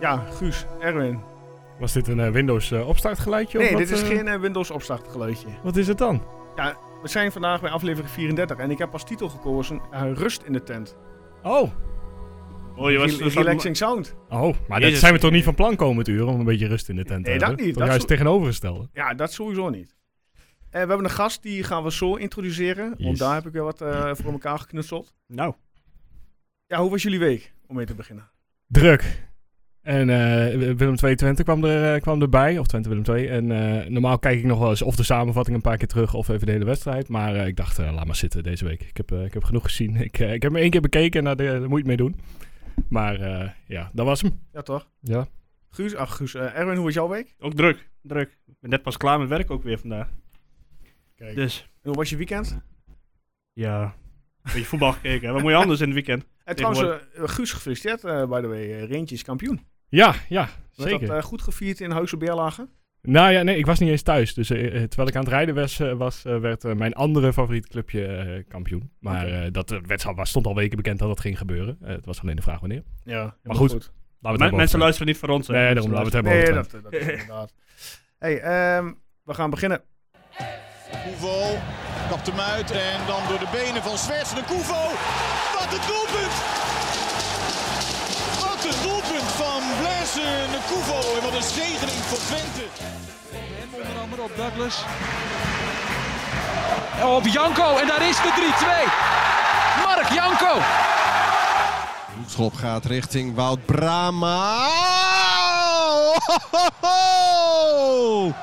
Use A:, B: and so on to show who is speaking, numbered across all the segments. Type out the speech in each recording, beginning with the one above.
A: Ja, Guus, Erwin.
B: Was dit een eh, Windows eh, opstartgeluidje? of
A: Nee,
B: wat,
A: dit is
B: eh,
A: geen eh, Windows opstartgeluidje.
B: Wat is het dan?
A: We zijn vandaag bij aflevering 34 en ik heb als titel gekozen eh, Rust in de tent.
B: Oh,
C: Oh, je was
A: Rel- relaxing sound.
B: oh maar dat
C: Jezus.
B: zijn we toch niet van plan komend uur om een beetje rust in de tent te
A: Nee, dat
B: hebben?
A: niet,
B: Toch
A: dat
B: juist
A: zo-
B: tegenovergestelde.
A: Ja, dat sowieso niet. Eh, we hebben een gast, die gaan we zo introduceren.
B: Yes.
A: Want daar heb ik weer wat eh, voor elkaar geknutseld.
D: Nou,
A: Ja, hoe was jullie week? Om mee te beginnen.
B: Druk. En eh, Willem 2 Twente kwam, er, eh, kwam erbij, of Twente Willem 2. En eh, normaal kijk ik nog wel eens of de samenvatting een paar keer terug of even de hele wedstrijd. Maar eh, ik dacht, eh, laat maar zitten deze week. Ik heb, eh, ik heb genoeg gezien. Ik, eh, ik heb hem één keer bekeken en daar, daar moet je het mee doen. Maar eh, ja, dat was hem.
A: Ja, toch?
B: Ja.
A: Guus, ach Guus, eh, Erwin, hoe was jouw week?
C: ook druk.
D: druk. Ik ben net pas klaar met werk ook weer vandaag.
A: Kijk.
C: Dus
A: En hoe was je weekend?
C: ja, een beetje voetbal gekeken. hè. Wat moet je anders in het weekend?
A: En trouwens, eh, Guus gefeliciteerd, eh by the way. eh, Reentje is kampioen.
B: Ja, ja,
A: Werd
B: zeker.
A: dat eh, goed gevierd in Huizen Berlage?
B: Nou ja, nee, ik was niet eens thuis. Dus eh, eh, terwijl ik aan het rijden was, eh, was eh, werd eh, mijn andere favoriete clubje eh, kampioen. Maar eh, dat eh, werd, al- was- stond al weken bekend dat dat ging gebeuren. Eh, het was alleen de vraag wanneer.
A: Ja,
B: maar goed. Laten we
C: Men-
B: het
C: mensen
B: hebben over
C: luisteren niet voor ons.
B: Twente.
C: hè.
B: Nee, daarom laten
C: Mensen
B: we het hebben
A: Nee,
B: over
A: dat, dat is inderdaad. hey, ehm, we gaan beginnen.
E: Koevo kapt hem uit en dan door de benen van Zwerts de Koevo. Wat een doelpunt! Wat een doelpunt van Blaise de Koevo en wat een zegening voor Twente.
F: Onder andere op Douglas. Oh, Op Janko en daar is de 3-2. Mark Janko.
E: Hoekschop gaat richting Wout Brama.
G: Oh!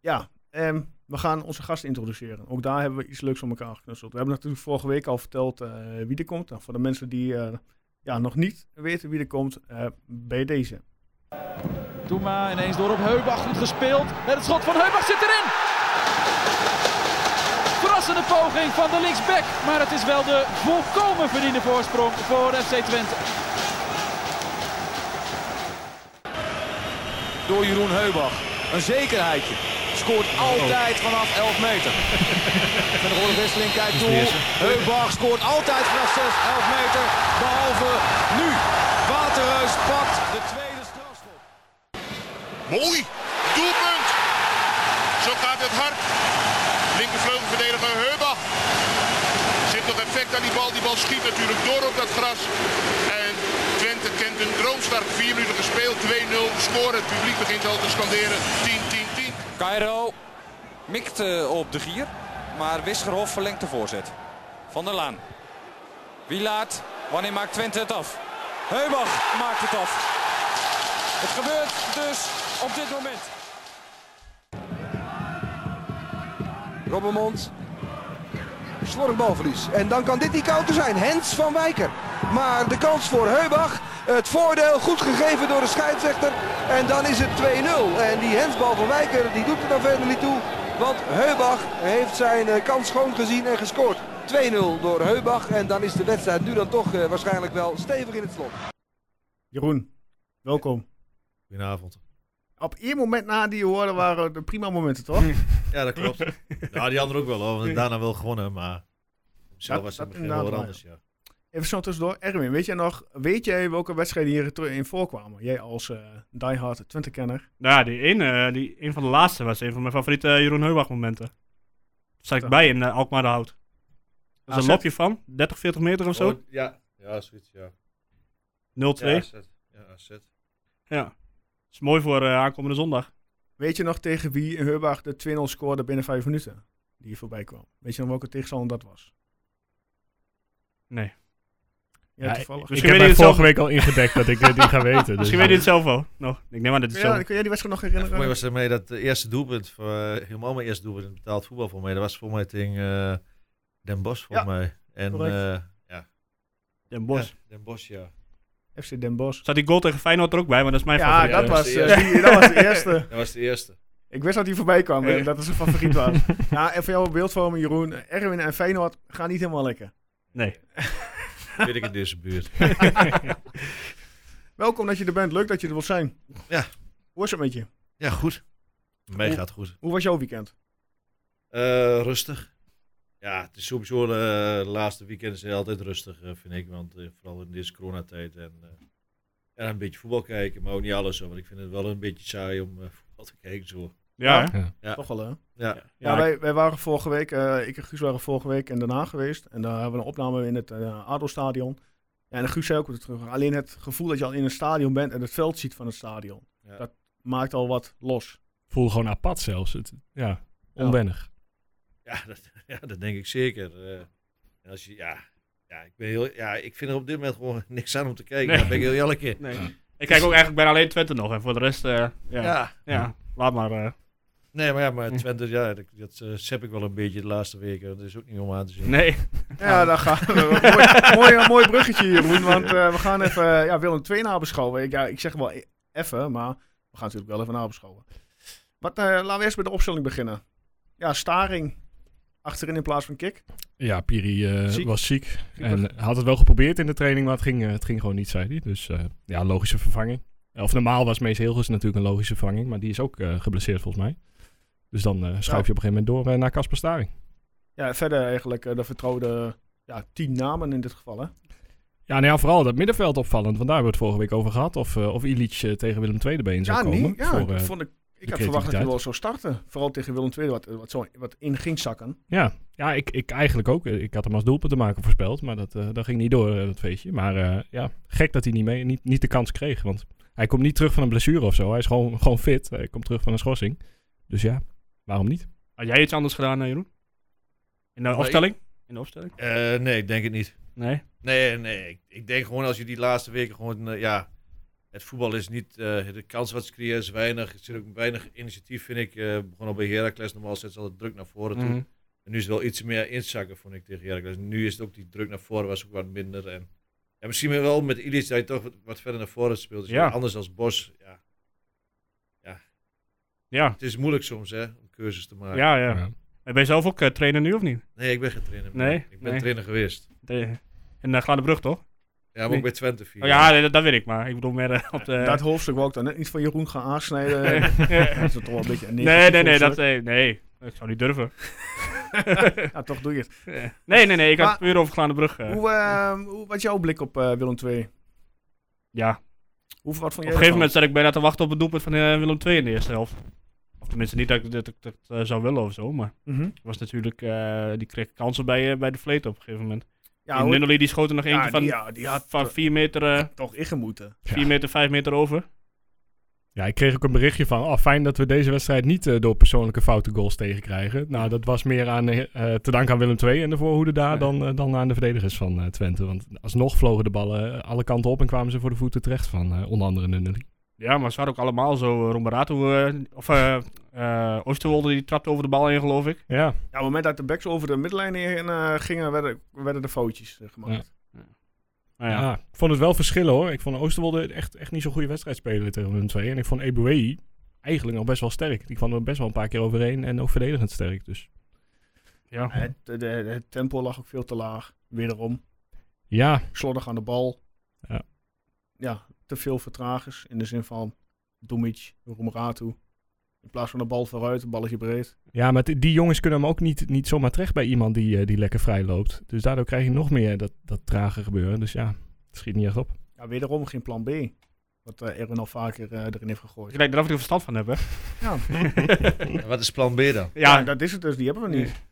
A: Ja, ehm, we gaan onze gast introduceren. Ook daar hebben we iets leuks om elkaar geknutseld. We hebben natuurlijk vorige week al verteld eh, wie er komt. Nou, voor de mensen die eh, ja, nog niet weten wie er komt, eh, bij deze.
F: Doema ineens door op Heubach. Goed gespeeld. En het schot van Heubach zit erin. Verrassende poging van de linksback. Maar het is wel de volkomen verdiende voorsprong voor FC Twente.
E: Door Jeroen Heubach. Een zekerheidje. Scoort
G: Oh.
E: altijd vanaf 11 meter. Van de Rode Wisseling kijkt toe. Heubach scoort altijd vanaf 6, 11 meter. Behalve nu. Waterreus pakt de tweede strafschop.
H: Mooi! Doelpunt! Zo gaat het hard. Linkervleugelverdediger Heubach. Zit nog effect aan die bal. Die bal schiet natuurlijk door op dat gras. En Twente kent een droomstart. Vier minuten gespeeld, 2-0 scoren. Het publiek begint al te scanderen. 10-10-10.
I: Cairo mikt eh, op de gier, maar Wisgerhof verlengt de voorzet. Van der Laan. Wielaert, wanneer maakt Twente het af? Heubach maakt het af. Het gebeurt dus op dit moment.
J: Robbenmond. Slordig balverlies. En dan kan dit die counter zijn. Hens van Wijker. Maar de kans voor Heubach. Het voordeel goed gegeven door de scheidsrechter. En dan is het 2-0. En die hensbal van Wijker die doet er dan verder niet toe. Want Heubach heeft zijn eh, kans schoon gezien en gescoord. 2-0 door Heubach. En dan is de wedstrijd nu dan toch eh, waarschijnlijk wel stevig in het slot.
A: Jeroen, welkom.
G: Goedenavond.
A: Op één moment na die je hoorde waren de prima momenten, toch?
G: Ja, dat klopt. nou, die andere ook wel, hoor. want daarna wel gewonnen, maar... Zelf
A: Dat-
G: was
A: dat
G: het misschien wel
A: inderdaad
G: wat
A: waar.
G: anders, ja.
A: Even zo tussendoor. Erwin, weet jij nog, weet jij welke wedstrijden hier ter- in voorkwamen? Jij als eh diehard Twente-kenner.
C: Nou, die een, eh, die een van de laatste was een van mijn favoriete eh, Jeroen Heubach momenten. Daar zat ik bij in eh, Alkmaar de Hout. Dat is
A: AZ.
C: een lopje van, 30, 40 meter of zo.
G: Oh, ja. ja, zoiets, ja.
C: 0-2.
G: Ja,
C: Ja.
G: AZ. Ja, AZ.
C: Dat is mooi voor eh, aankomende zondag.
A: Weet je nog tegen wie Heubach de 2-0 scoorde binnen vijf minuten? Die hier voorbij kwam. Weet je nog welke tegenstander dat was?
C: Nee.
A: Ja,
B: Ja,
A: toevallig.
B: Ik
C: Misschien
B: heb
C: weet
B: mij
C: je het
B: vorige
C: zelf-
B: week al ingedekt dat ik eh, die ga weten. Dus
C: Misschien weet je het zelf wel. nog. ik neem aan dat het zo.
A: Ja, kun jij die wedstrijd nog
G: Ja, voor mij
A: herinneren?
G: was het mee dat de eerste doelpunt, voor, eh, helemaal mijn eerste doelpunt in betaald voetbal voor mij, dat was voor mij tegen eh, Den Bosch, voor
A: Ja,
G: mij. En,
A: correct.
G: eh,
C: Den Bosch.
G: ja, Den Bosch, ja.
A: FC Den Bosch.
C: Zat die goal tegen Feyenoord er ook bij, maar dat is mijn
A: Ja,
C: favoriet.
A: dat
G: dat was
A: was,
G: de
A: eh,
G: eerste.
A: die- dat was de eerste.
G: Dat was de eerste.
A: Ik wist dat hij voorbij kwam en dat is een favoriet was. Ja, en voor jouw beeldvorming, Jeroen, Erwin en Feyenoord gaan niet helemaal lekker.
C: Nee.
G: Weet ik in deze buurt.
A: Welkom dat je er bent. Leuk dat je er wilt zijn.
G: Ja.
A: Hoe is het met je?
G: Ja, goed. Mij gaat goed.
A: Hoe was jouw weekend?
G: Eh, rustig. Ja, het is sowieso eh, de laatste weekenden zijn altijd rustig, eh, vind ik. Want eh, vooral in deze coronatijd. En, eh, en een beetje voetbal kijken, maar ook niet alles. hoor, Want ik vind het wel een beetje saai om eh, voetbal te kijken. Zo.
C: Ja, hè?
G: Ja.
A: Toch wel, hè?
G: Ja.
A: Ja, wij, wij waren vorige week, eh, ik en Guus waren vorige week in Den Haag geweest. En daar hebben we een opname in het eh ADO-stadion. Ja, en Guus zei ook weer terug, alleen het gevoel dat je al in een stadion bent en het veld ziet van het stadion.
G: Ja.
A: Dat maakt al wat los.
B: Voel gewoon apart zelfs. Het, ja,
A: Ja.
B: onwennig.
G: Ja, dat, ja, dat denk ik zeker. Eh, en als je, ja, ja, ik ben heel, ja, ik vind er op dit moment gewoon niks aan om te kijken.
C: Nee.
G: Daar ben ik heel eerlijk in.
C: Nee. Ik kijk ook eigenlijk bijna alleen Twente nog. En voor de rest, eh, ja. Ja.
G: Ja.
C: laat maar. eh.
G: Nee, maar ja, maar Twente, ja, dat, dat eh, sep ik wel een beetje de laatste weken. Dat is ook niet om aan te zien.
C: nee.
A: Ja, daar gaan we. mooi, mooi, mooi bruggetje hier, Roen. Want eh, we gaan even eh, ja, Willem II nabeschouwen. Ik, ja, ik zeg wel e- even, maar we gaan natuurlijk wel even nabeschouwen. Wat, eh, laten we eerst met de opstelling beginnen. Ja, Staring achterin in plaats van Kik.
B: Ja, Piri eh,
A: Ziek.
B: was ziek. En eh, had het wel geprobeerd in de training, maar het ging, eh, het ging gewoon niet, zei hij. Dus eh, ja, logische vervanging. Eh, Of normaal was Mees Hilgers natuurlijk een logische vervanging, maar die is ook eh, geblesseerd volgens mij. Dus dan eh, schuif je op een gegeven moment door eh, naar Casper Staring.
A: Ja, verder eigenlijk eh, de vertrouwde ja, tien namen in dit geval. Hè?
B: Ja, nou ja, vooral dat middenveld opvallend, want daar hebben we het vorige week over gehad. Of, eh, of Illich eh, tegen Willem II erbij in zou
A: Ja,
B: komen.
A: niet. Ja,
B: voor,
A: ik
B: eh,
A: vond ik, ik had verwacht dat hij
B: creativiteit.
A: wel zou starten. Vooral tegen Willem II, wat, wat, zo, wat in ging zakken.
B: Ja, ja ik, ik eigenlijk ook. Ik had hem als doelpunt te maken voorspeld, maar dat, eh, dat ging niet door, eh, dat feestje. Maar eh, ja, gek dat hij niet, mee, niet, niet de kans kreeg. Want hij komt niet terug van een blessure of zo. Hij is gewoon, gewoon fit. Hij komt terug van een schorsing. Dus ja, waarom niet?
C: Had jij iets anders gedaan, eh, Jeroen? In de
G: ik-
C: opstelling? In de opstelling?
G: Eh, nee, ik denk het niet.
C: Nee.
G: Nee, nee. Ik, ik denk gewoon als je die laatste weken gewoon, eh, ja, het voetbal is niet, eh, de kans wat ze creëren is weinig. Er zit ook weinig initiatief, vind ik. eh begon al bij Heracles, normaal zet ze altijd druk naar voren toe.
C: Mhm.
G: En nu is het wel iets meer inzakken, vond ik, tegen Heracles. Nu is het ook die druk naar voren was ook wat minder. En, ja, misschien wel met Illich dat hij toch wat, wat verder naar voren speelt. Dus
C: Ja.
G: ja, Anders als Bos, ja.
C: Ja.
G: Het is moeilijk soms, hè, om keuzes te maken.
C: Ja, ja. En Ben je zelf ook eh, trainer nu of niet?
G: Nee, ik ben geen trainer meer.
C: Nee,
G: Ik ben
C: nee.
G: trainer geweest.
C: De, in de Brug, toch?
G: Ja, maar
C: Nee.
G: ook bij Twente vier.
C: Oh, ja, nee, dat, dat weet ik maar. Ik bedoel meer eh, op de...
A: Dat hoofdstuk wou ik dan net niet van Jeroen gaan aansnijden. dat is toch wel een beetje een
C: nee,
A: negatief
C: nee, nee,
A: hoofdstuk.
C: dat, eh, nee. Ik zou niet durven.
A: Ja, toch doe je het.
C: nee, nee, nee. Ik had
A: Maar-
C: het puur over Gladenbrug. eh.
A: Hoe, ehm, hoe, wat is jouw blik op eh, Willem II?
C: ja.
A: Hoe, wat vond jij
C: Op een gegeven
A: ervan?
C: moment zat ik bijna te wachten op het doelpunt van eh, Willem II in de eerste helft. Of tenminste, niet dat ik dat, ik dat eh, zou willen of zo, maar
A: Mhm.
C: het was natuurlijk, eh, die kreeg kansen bij, eh, bij de vleet op een gegeven moment.
A: Ja,
C: die
A: hoor.
C: Nunnally die schoot er nog eentje
A: ja,
C: van,
A: die, ja, die had
C: van
A: eh,
C: 4 meter, eh,
A: toch ingemoeten.
C: vier meter, 5 meter over.
B: Ja, ik kreeg ook een berichtje van, oh, fijn dat we deze wedstrijd niet eh, door persoonlijke foute goals tegenkrijgen. Nou, dat was meer aan, eh, eh, te danken aan Willem II en de voorhoede daar
C: Ja.
B: dan, eh, dan aan de verdedigers van eh, Twente. Want alsnog vlogen de ballen eh, alle kanten op en kwamen ze voor de voeten terecht van eh, onder andere Nunnely.
C: Ja, maar ze hadden ook allemaal zo. eh, Romberato, eh, of eh eh, Oosterwolde, die trapte over de bal heen, geloof ik.
B: Ja,
A: Ja, op het moment dat de backs over de middenlijn heen eh, gingen, werden, werden er foutjes eh, gemaakt.
C: Nou ja.
B: Ja. ik vond het wel verschillen hoor. Ik vond Oosterwolde echt, echt niet zo'n goede wedstrijd spelen tegen Willem II. En ik vond Ebuei eigenlijk nog best wel sterk. Die kwam er best wel een paar keer overheen en ook verdedigend sterk. Dus
C: ja.
A: Het, de- de- het tempo lag ook veel te laag. Wederom.
B: ja,
A: slordig aan de bal.
B: Ja.
A: Ja, te veel vertragers in de zin van Dumic, Roemerato. In plaats van de bal vooruit, een balletje breed.
B: ja maar die die jongens kunnen hem ook niet, niet zomaar terecht bij iemand die, eh, die lekker vrij loopt. Dus daardoor krijg je nog meer dat, dat trage gebeuren. Dus ja, het schiet niet echt op.
A: Ja, wederom geen plan B. Wat eh Erwin al vaker eh, erin heeft gegooid.
C: Ik denk dat ik er verstand van heb, hè.
A: Ja.
G: En Wat is plan B dan?
A: Ja,
C: Ja,
A: dat is het dus. Die hebben we
C: Nee.
A: niet.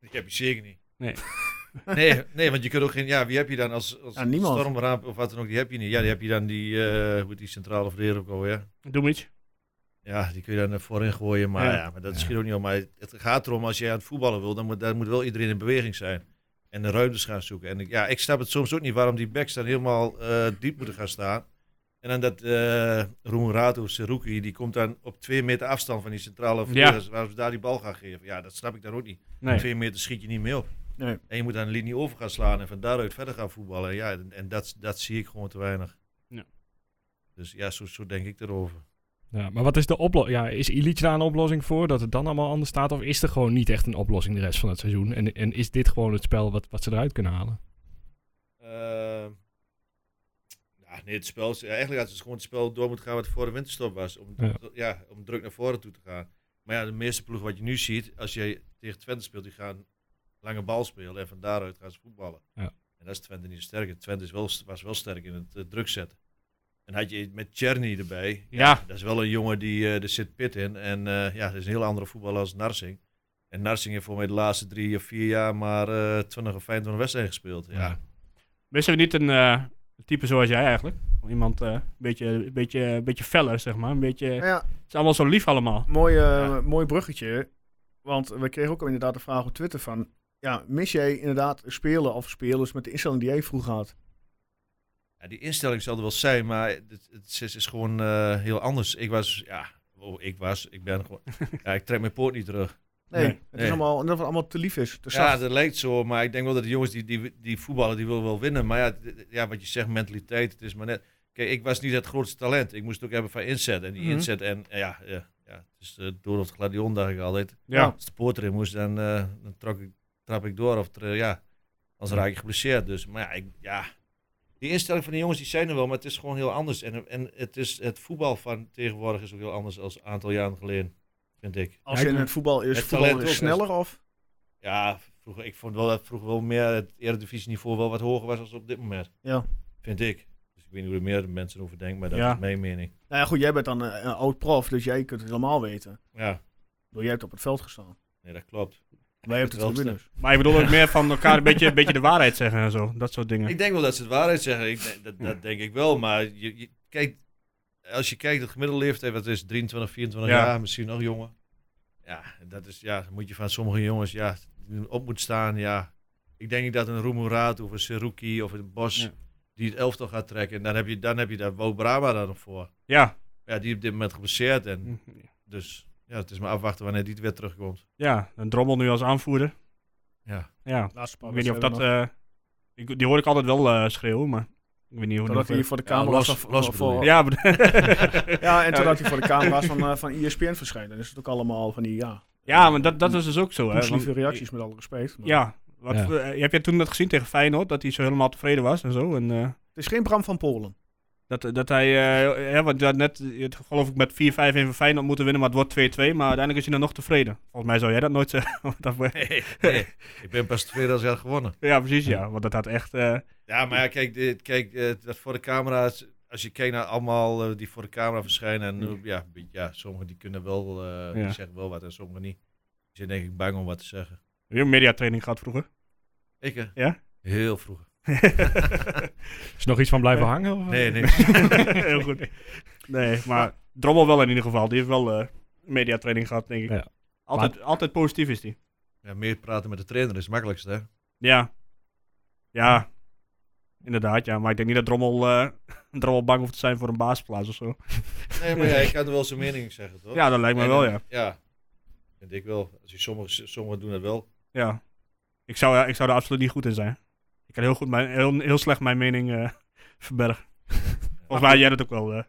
G: Die heb je zeker niet.
C: Nee.
G: nee, nee, want je kunt ook geen. Ja, wie heb je dan als, als
A: Ja, niemand.
G: stormraap of wat dan ook? Die heb je niet. Ja, die heb je dan die. eh, hoe heet die centrale verdediger ook alweer?
C: doe iets.
G: Ja, die kun je dan eh, voorin gooien. Maar,
C: Ja.
G: ja. maar dat schiet ook niet om. Maar het gaat erom, als je aan het voetballen wil, dan moet, daar moet wel iedereen in beweging zijn. En de ruimtes gaan zoeken. En ik- ja, ik snap het soms ook niet waarom die backs dan helemaal eh, diep moeten gaan staan. En dan dat eh Roemerato Seruki, die komt dan op twee meter afstand van die centrale verdedigers. Waarom ze daar die bal gaan geven. Ja, dat snap ik daar ook niet.
C: Nee.
G: Twee meter schiet je niet meer op.
A: Nee.
G: En je moet aan de linie over gaan slaan en van daaruit verder gaan voetballen. Ja, en, en dat, dat zie ik gewoon te weinig.
C: Ja.
G: Dus ja, zo, zo denk ik erover.
B: Ja, maar wat is de oplossing? Ja, is Illich daar een oplossing voor? Dat het dan allemaal anders staat? Of is er gewoon niet echt een oplossing de rest van het seizoen? En, en is dit gewoon het spel wat, wat ze eruit kunnen halen?
G: Ehm, ja, Nee, het spel, is- ja, eigenlijk hadden ze gewoon het spel door moeten gaan wat voor de winterstop was. Om, ja.
B: Ja.
G: om druk naar voren toe te gaan. Maar ja, de meeste ploeg wat je nu ziet, als je tegen Twente speelt, die gaan lange bal spelen. En van daaruit gaan ze voetballen.
B: Ja.
G: En dat is Twente niet zo sterk. in. Twente is wel, was wel sterk in het eh, druk zetten. En had je met Czerny erbij.
C: Ja.
G: Dat is wel een jongen die eh, er zit pit in. En eh, ja, dat is een heel andere voetballer als Narsing. En Narsing heeft voor mij de laatste drie of vier jaar maar eh 20 of 25 wedstrijden gespeeld. Ja.
B: Ja.
C: Missen we niet een eh, type zoals jij eigenlijk? Iemand eh, een beetje, een beetje, een beetje feller, zeg maar. Een beetje,
A: Nou
C: het
A: ja,
C: is allemaal zo lief allemaal.
A: mooi, eh,
G: Ja.
A: mooi bruggetje. Want we kregen ook inderdaad de vraag op Twitter van... Ja, mis jij inderdaad spelen of spelers met de instelling die jij vroeger had?
G: Ja, die instelling zal er wel zijn, maar het, het is, is gewoon eh, heel anders. Ik was, ja, oh, ik was, ik ben gewoon, ja, ik trek mijn poot niet terug.
A: Nee,
C: Nee.
A: het is
G: Nee.
A: allemaal, omdat het allemaal te lief is, te
G: Ja,
A: zacht.
G: dat lijkt zo, maar ik denk wel dat de jongens die, die, die voetballen, die willen wel winnen. Maar ja, d- d- ja, wat je zegt, mentaliteit, het is maar net. Kijk, ik was niet het grootste talent. Ik moest het ook hebben van inzet. En die
A: Mhm.
G: inzet, en eh, ja, ja, ja, het is eh, door het gladion, dacht ik altijd.
C: Ja.
G: Als de poort erin moest, dan, eh, dan trok ik, trap ik door. Of er, eh, ja, anders raak ik geblesseerd. Dus, maar ja, ik, ja, die instelling van de jongens die zijn er wel, maar het is gewoon heel anders. En, en het, is, het voetbal van tegenwoordig is ook heel anders als een aantal jaren geleden, vind ik.
A: Als je in het voetbal is,
G: Het
A: voetbal
G: talent
A: is
G: ook,
A: sneller of...
G: Ja, vroeger, ik vond wel dat vroeger wel meer het eredivisieniveau wel wat hoger was dan op dit moment.
A: Ja.
G: Vind ik. Dus ik weet niet hoe er meer mensen over denken, maar dat
C: Ja.
G: is mijn mening.
A: Nou ja, goed, jij bent dan een, een oud prof, dus jij kunt het allemaal weten.
G: Ja,
A: Door jij hebt op het veld gestaan.
G: nee, dat klopt.
A: Wij hebben
G: wel
A: het tribunes.
C: Maar ik bedoel ook meer van elkaar een beetje, een beetje de waarheid zeggen en zo. Dat soort dingen.
G: Ik denk wel dat ze het waarheid zeggen. Ik, denk- dat, dat denk ik wel. Maar je, je, kijk, als je kijkt, het gemiddelde leeftijd, wat is het, 23, 24
C: Ja.
G: jaar, misschien nog jonger. Ja, dat is, ja, dan moet je van sommige jongens, ja, die op moet staan, ja. Ik denk niet dat een Roemuraat of een Seruki of een Bos
C: Ja.
G: die het elftal gaat trekken. En dan heb je, dan heb je daar Wo Brama dan nog voor.
C: Ja.
G: Ja, die op dit moment geblesseerd. En dus, ja, het is maar afwachten wanneer die weer terugkomt.
C: Ja, een drommel nu als aanvoerder.
G: Ja.
C: Ja,
A: eh, Laatste paar
C: ik weet niet of dat...
A: wedstrijden
C: eh, ik, die hoor ik altijd wel eh, schreeuwen, maar ik weet niet
A: nog.
C: hoe...
A: Totdat
C: die-
A: hij voor de
G: Ja,
A: camera
G: los-
A: was. of-
G: los
A: of-
G: bedoel je.
A: ja.
C: Ja, maar-
A: en totdat hij voor de camera was van, eh, van ESPN verschijnen. Dan is het ook allemaal van die, ja,
C: ja, maar dat, dat is dus ook zo. Hè,
A: lieve
C: want-
A: reacties met alle respect. maar
C: Ja. Wat,
B: Ja.
C: we- eh, heb jij toen dat gezien tegen Feyenoord? Dat hij zo helemaal tevreden was en zo? En, eh,
A: Het is geen Bram van Polen.
C: dat, dat hij, eh, ja, want ja, net, eh, het- geloof ik, met 4-5 even Feyenoord moeten winnen, maar het wordt 2-2. Maar uiteindelijk is hij dan nog tevreden. Volgens mij zou jij dat nooit zeggen. want dat we-
G: Nee, nee. ik ben pas tevreden als ik had gewonnen.
C: ja, precies, ja. Want dat had echt... eh,
G: Ja, maar ja, kijk, dit, kijk eh, dat voor de camera's. Als je kijkt naar allemaal eh, die voor de camera verschijnen. En eh, ja, een beetje- ja, sommigen die kunnen wel, eh, die
C: Ja.
G: zeggen wel wat en sommigen niet. Die zijn denk ik bang om wat te zeggen.
C: Heb je een mediatraining gehad vroeger?
G: Ik, eh,
C: Ja?
G: Heel vroeg.
B: Is er nog iets van blijven hangen? Of?
G: Nee, niks.
C: Heel goed. Nee, maar Drommel wel in ieder geval. Die heeft wel eh mediatraining gehad, denk ik.
B: Ja.
C: Altijd, altijd positief is die.
G: Ja, meer praten met de trainer is het makkelijkste, hè?
C: Ja. Ja. Inderdaad, ja. Maar ik denk niet dat Drommel, eh, Drommel bang hoeft te zijn voor een baasplaats of zo.
G: Nee, maar ja, ik kan er wel zijn mening zeggen, toch?
C: Ja, dat lijkt me
G: En,
C: wel,
G: eh,
C: ja.
G: Ja, vind ik wel. Als je sommigen, sommigen doen dat wel.
C: ja. Ik, zou, ja, ik zou er absoluut niet goed in zijn. Ik kan heel, goed mijn, heel, heel slecht mijn mening eh, verbergen. Volgens mij had jij dat ook wel. eh.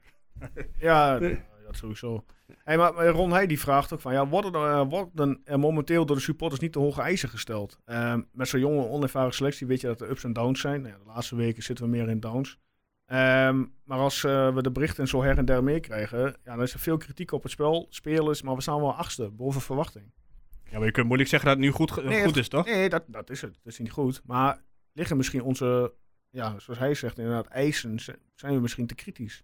A: Ja, dat sowieso. Hey, maar maar Ron Heij die vraagt ook van, ja, worden, er, eh, worden er momenteel door de supporters niet te hoge eisen gesteld? Ehm, met zo'n jonge, onervaren selectie weet je dat er ups en downs zijn. Nou ja, de laatste weken zitten we meer in downs. Ehm, maar als eh, we de berichten zo her en der meer krijgen, ja, dan is er veel kritiek op het spel, spelers, maar we staan wel achtste, boven verwachting.
C: Ja, maar je kunt moeilijk zeggen dat het nu goed, ge-
A: Nee,
C: goed is, toch?
A: Nee, dat, dat is het. Dat is niet goed. Maar liggen misschien onze, ja, zoals hij zegt, inderdaad, eisen, z- zijn we misschien te kritisch?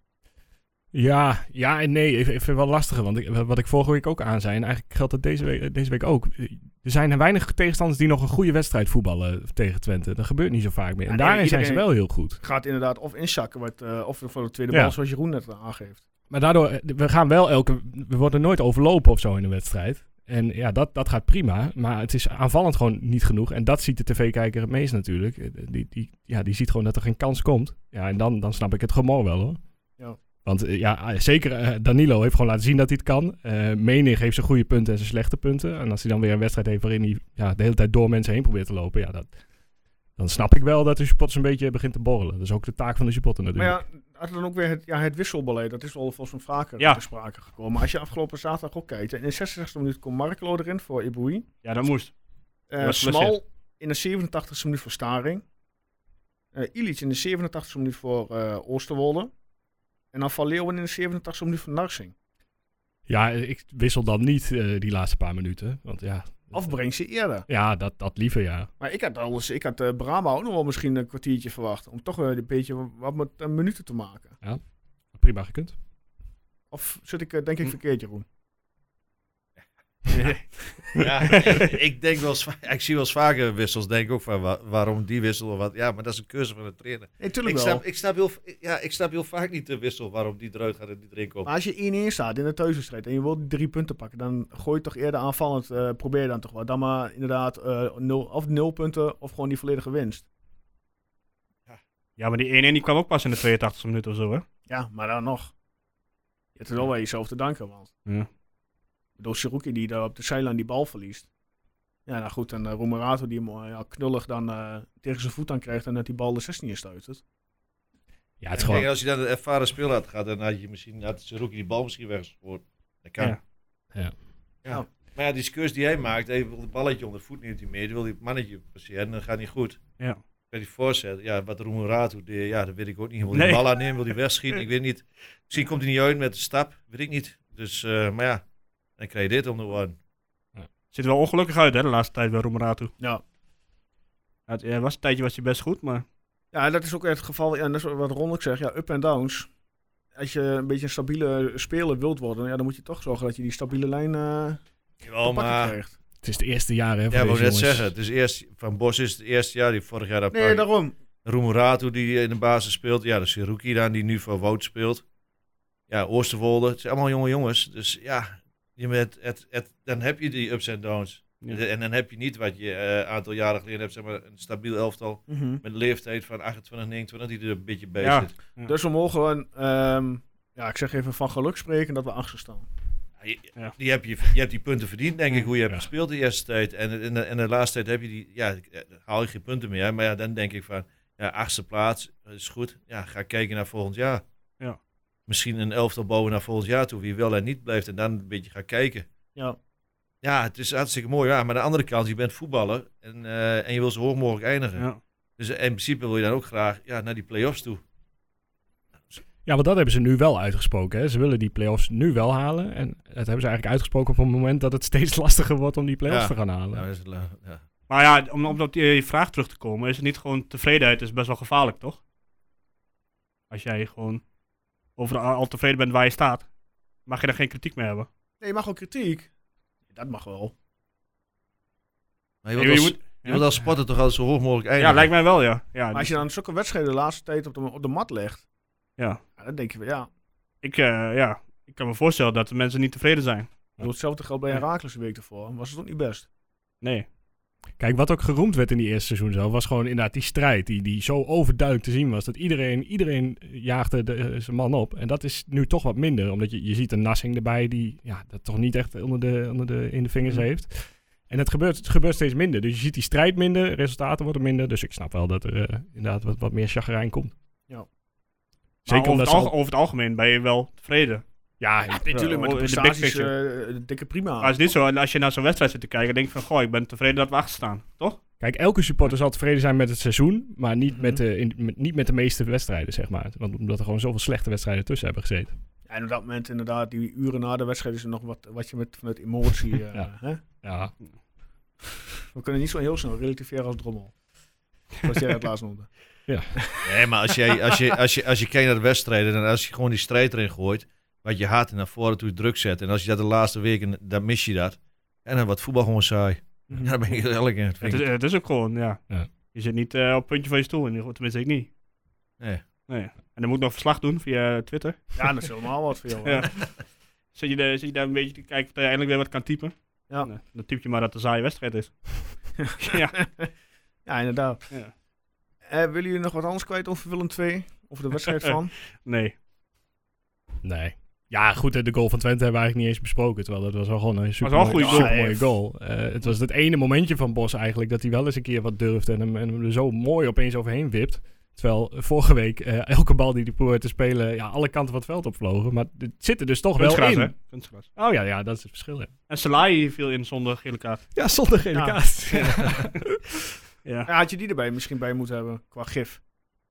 B: Ja, ja en nee. Ik, ik vind het wel lastiger. Want ik, wat ik vorige week ook aan zei. En eigenlijk geldt dat deze week, deze week ook. Er zijn weinig tegenstanders die nog een goede wedstrijd voetballen tegen Twente. Dat gebeurt niet zo vaak meer. En
A: Ja, nee,
B: daarin zijn ze
A: iedereen-
B: wel heel goed.
A: gaat inderdaad of inzakken, wat, eh, of voor de tweede
B: Ja.
A: bal, zoals Jeroen net aangeeft.
B: Maar daardoor, eh, we gaan wel elke... We worden nooit overlopen of zo in een wedstrijd. En ja, dat, dat gaat prima. Maar het is aanvallend gewoon niet genoeg. En dat ziet de tv-kijker het meest natuurlijk. Eh, Die, die, ja, die ziet gewoon dat er geen kans komt. Ja, en dan, dan snap ik het gemor wel hoor.
A: Ja.
B: Want eh, ja, eh, zeker eh, Danilo heeft gewoon laten zien dat hij het kan. Eh Menig heeft zijn goede punten en zijn slechte punten. En als hij dan weer een wedstrijd heeft waarin hij ja, de hele tijd door mensen heen probeert te lopen. Ja, dat, dan snap ik wel dat de supporters een beetje begint te borrelen. Dat is ook de taak van de supporter
A: Maar
B: natuurlijk.
A: ja, had dan ook weer het, ja, het wisselbeleid, dat is wel volgens mij vaker
C: Ja.
A: te sprake gekomen. Maar als je afgelopen zaterdag ook kijkt, en in de 66e minuut komt Marklo erin voor Iboui.
C: Ja, dat moest.
A: Eh,
C: Die was
A: Smal in de 87e minuut voor Staring. Eh, Eh Illich in de 87 e minuut voor eh, Oosterwolde. En dan Van Leeuwen in de 87 e minuut voor Narsing.
B: Ja, ik wissel dan niet eh, die laatste paar minuten. Want ja,
A: Of breng ze eerder.
B: ja dat, dat liever, ja.
A: Maar ik had, alles, ik had eh, Brama ook nog wel misschien een kwartiertje verwacht. Om toch eh, een beetje wat met eh, minuten te maken.
B: Prima gekund.
A: Of zit ik, eh, denk
G: Hm.
A: ik, verkeerd, Jeroen?
G: Ja, ik, ik denk wel eens va- ik zie wel eens vaker wissels. Denk ook van wa- waarom die wissel of wat. Ja, maar dat is een keuze van de trainer.
A: Nee, tuurlijk
G: Ik
A: wel.
G: snap, ik, snap heel, ja, ik snap heel vaak niet de wissel waarom die eruit gaat en die erin komt.
A: Maar als je 1-1 staat in de thuiswedstrijd en je wilt die drie punten pakken, dan gooi je toch eerder aanvallend, eh, probeer je dan toch wat. Dan maar inderdaad eh, nul, of nul punten of gewoon die volledige winst.
C: Ja, maar die 1-1 die kwam ook pas in de 82e minuut of zo, hè?
A: Ja, maar dan nog. Je hebt er wel aan jezelf te danken, want
C: Ja.
A: door Siruki die daar op de zijlijn die bal verliest. Ja, nou goed, en uh, Romerato die hem eh, ja, knullig dan eh, tegen zijn voet aan krijgt en dat die bal de 16 in stuitert.
B: Ja, het is
G: En
B: gewoon...
G: kijk, als je dan een ervaren speler had gehad, dan had je misschien had Saruki die bal misschien weggespoord. Dat kan.
C: Ja.
B: Ja.
G: Ja. Maar ja, die keus die hij maakt, hij wil het balletje onder voet neemt hij mee, dan wil hij het mannetje passeren, dan gaat niet goed.
C: Ja.
G: Kan hij voorzetten. Ja, wat Roemerato deed, ja, dat weet ik ook niet. Wil hij
C: Nee.
G: de bal aannemen, wil hij wegschieten, ik weet niet. Misschien komt hij niet uit met de stap, weet ik niet. Dus, eh, maar ja, dan krijg je dit om de oren.
C: Ziet er wel ongelukkig uit, hè, de laatste tijd bij Roemerato.
A: Ja.
C: Het ja, was een tijdje was hij best goed, maar...
A: Ja, dat is ook het geval. Ja, en dat is wat Ron ook zegt. Ja, up en downs. Als je een beetje een stabiele speler wilt worden, ja, dan moet je toch zorgen dat je die stabiele lijn eh
G: Jawel,
C: Oh,
A: te pakken
G: maar...
A: krijgt.
B: Het is het eerste jaar, hè, voor
G: Ja,
B: deze
G: ik wou net
B: jongens.
G: zeggen, het is eerst, Van Bos is het eerste jaar, die vorig jaar dat
A: Nee, daarom.
G: Roemerato die eh, in de basis speelt. Ja, de Siruki dan die nu voor Wout speelt. Ja, Oosterwolde. Het zijn allemaal jonge jongens. Dus ja, je met, het, het, dan heb je die ups en downs. En dan heb je niet wat je eh, een aantal jaren geleden hebt, zeg maar, een stabiel elftal.
A: Mhm.
G: Met een leeftijd van 28, 29 die er een beetje bij
C: Ja.
G: zit.
A: Dus we mogen gewoon, ehm, ja, ik zeg even van geluk spreken dat we achter staan.
G: Ja, je-
C: Ja.
G: Die heb je, je hebt die punten verdiend, denk ik, hoe je hebt
B: Ja.
G: gespeeld de eerste tijd. En in de, in de laatste tijd heb je die, ja, eh, haal je geen punten meer. Maar ja, dan denk ik van, ja, achtste plaats is goed. Ja, ga kijken naar volgend jaar.
C: Ja.
G: Misschien een elftal bouwen naar volgend jaar toe, wie wel en niet blijft. En dan een beetje gaan kijken.
A: Ja.
G: Ja, het is hartstikke mooi. Ja, maar aan de andere kant, je bent voetballer en, eh, en je wil zo hoog mogelijk eindigen.
C: Ja.
G: Dus in principe wil je dan ook graag ja, naar die play-offs toe.
B: Ja, want dat hebben ze nu wel uitgesproken. Hè. Ze willen die play-offs nu wel halen. En dat hebben ze eigenlijk uitgesproken op het moment dat het steeds lastiger wordt om die play-offs
G: Ja.
B: te gaan halen.
G: Nou, dat is het la- ja.
C: Maar ja, om, om op die vraag terug te komen, is het niet gewoon tevredenheid is best wel gevaarlijk, toch? Als jij gewoon over eh, al tevreden bent waar je staat, mag je daar geen kritiek meer hebben.
A: Nee, je mag ook kritiek. Dat mag wel.
G: Maar je
C: Je,
G: wilt als,
C: moet,
G: je wilt als sporter toch altijd zo hoog mogelijk eindigen.
C: ja, lijkt mij wel, ja. ja
A: Maar als je dan zulke wedstrijden de laatste tijd op de, op de mat legt,
C: Ja.
A: dan denk je, wel, ja,
C: ik, eh, ja, ik kan me voorstellen dat de mensen niet tevreden zijn.
A: ik bedoel, hetzelfde geldt bij Herakles de week ervoor. Was het ook niet best?
C: Nee.
B: Kijk, wat ook geroemd werd in die eerste seizoen zelf, was gewoon inderdaad die strijd die, die zo overduidelijk te zien was. Dat iedereen, iedereen jaagde de, eh, zijn man op. En dat is nu toch wat minder, omdat je, je ziet een Nassing erbij die ja, dat toch niet echt onder de, onder de, in de vingers heeft. En het gebeurt, het gebeurt steeds minder. Dus je ziet die strijd minder, resultaten worden minder. Dus ik snap wel dat er eh, inderdaad wat, wat meer chagrijn komt.
A: Ja.
C: Maar
B: Zeker
C: over,
B: omdat
C: het
B: ze al-
C: alge- over het algemeen ben je wel tevreden.
B: Ja,
A: natuurlijk, maar de
C: oh, in de big
A: prestaties,
C: picture.
A: eh, de dikke prima.
C: Maar het is niet zo, als je naar zo'n wedstrijd zit te kijken, denk je van, goh, ik ben tevreden dat we achter staan, toch?
B: Kijk, elke supporter zal tevreden zijn met het seizoen, maar niet,
A: Mhm.
B: met, de, in- met- niet met de meeste wedstrijden, zeg maar. Want omdat er gewoon zoveel slechte wedstrijden tussen hebben gezeten.
A: Ja, en op dat moment inderdaad, die uren na de wedstrijd is er nog wat, wat je met, vanuit emotie... eh,
B: Ja.
A: hè?
B: Ja,
A: We kunnen niet zo heel snel relativeren als drommel. Wat jij het laatst noemde.
G: Nee, maar als, jij, als, je, als, je, als je kijkt naar de wedstrijden en als je gewoon die strijd erin gooit, wat je haat en naar voren toe druk zet. En als je dat de laatste weken, dan mis je dat. En dan wordt voetbal gewoon saai. Ja, daar ben ik heel eerlijk in.
C: Het
G: Vind
C: is,
G: ik.
C: het is ook gewoon, ja.
B: Ja.
C: Je zit niet eh, op het puntje van je stoel, in ieder geval, tenminste ik niet.
G: Nee.
C: nee. En dan moet ik nog verslag doen via Twitter.
A: Ja, dat is helemaal wat voor jou.
C: Ja. Zit je, daar, zit je daar een beetje te kijken of je eindelijk weer wat kan typen?
A: Ja.
C: Nee, dan typ je maar dat het een saaie wedstrijd is. ja.
A: Ja, inderdaad.
C: Ja.
A: Eh, willen jullie nog wat anders kwijt over Willem 2? Of de wedstrijd van?
C: Nee.
B: nee. Ja, goed, hè, de goal van Twente hebben we eigenlijk niet eens besproken. Terwijl dat was wel gewoon een super
C: wel een goede goal.
B: mooie goal. Eh, het was het ene momentje van Bos eigenlijk dat hij wel eens een keer wat durft en hem, en hem er zo mooi opeens overheen wipt. Terwijl eh, vorige week eh, elke bal die hij probeerde te spelen, ja, alle kanten van het veld opvlogen. Maar het zit er dus toch wel
C: Kunstgras,
B: in.
C: hè? Kunstgras.
B: Oh ja, ja, dat is het verschil. Hè.
C: En Salai viel in zonder gele kaart.
B: Ja, zonder gele
A: Ja.
B: kaart.
C: Ja.
A: Ja, had je die erbij misschien bij moeten hebben, qua gif?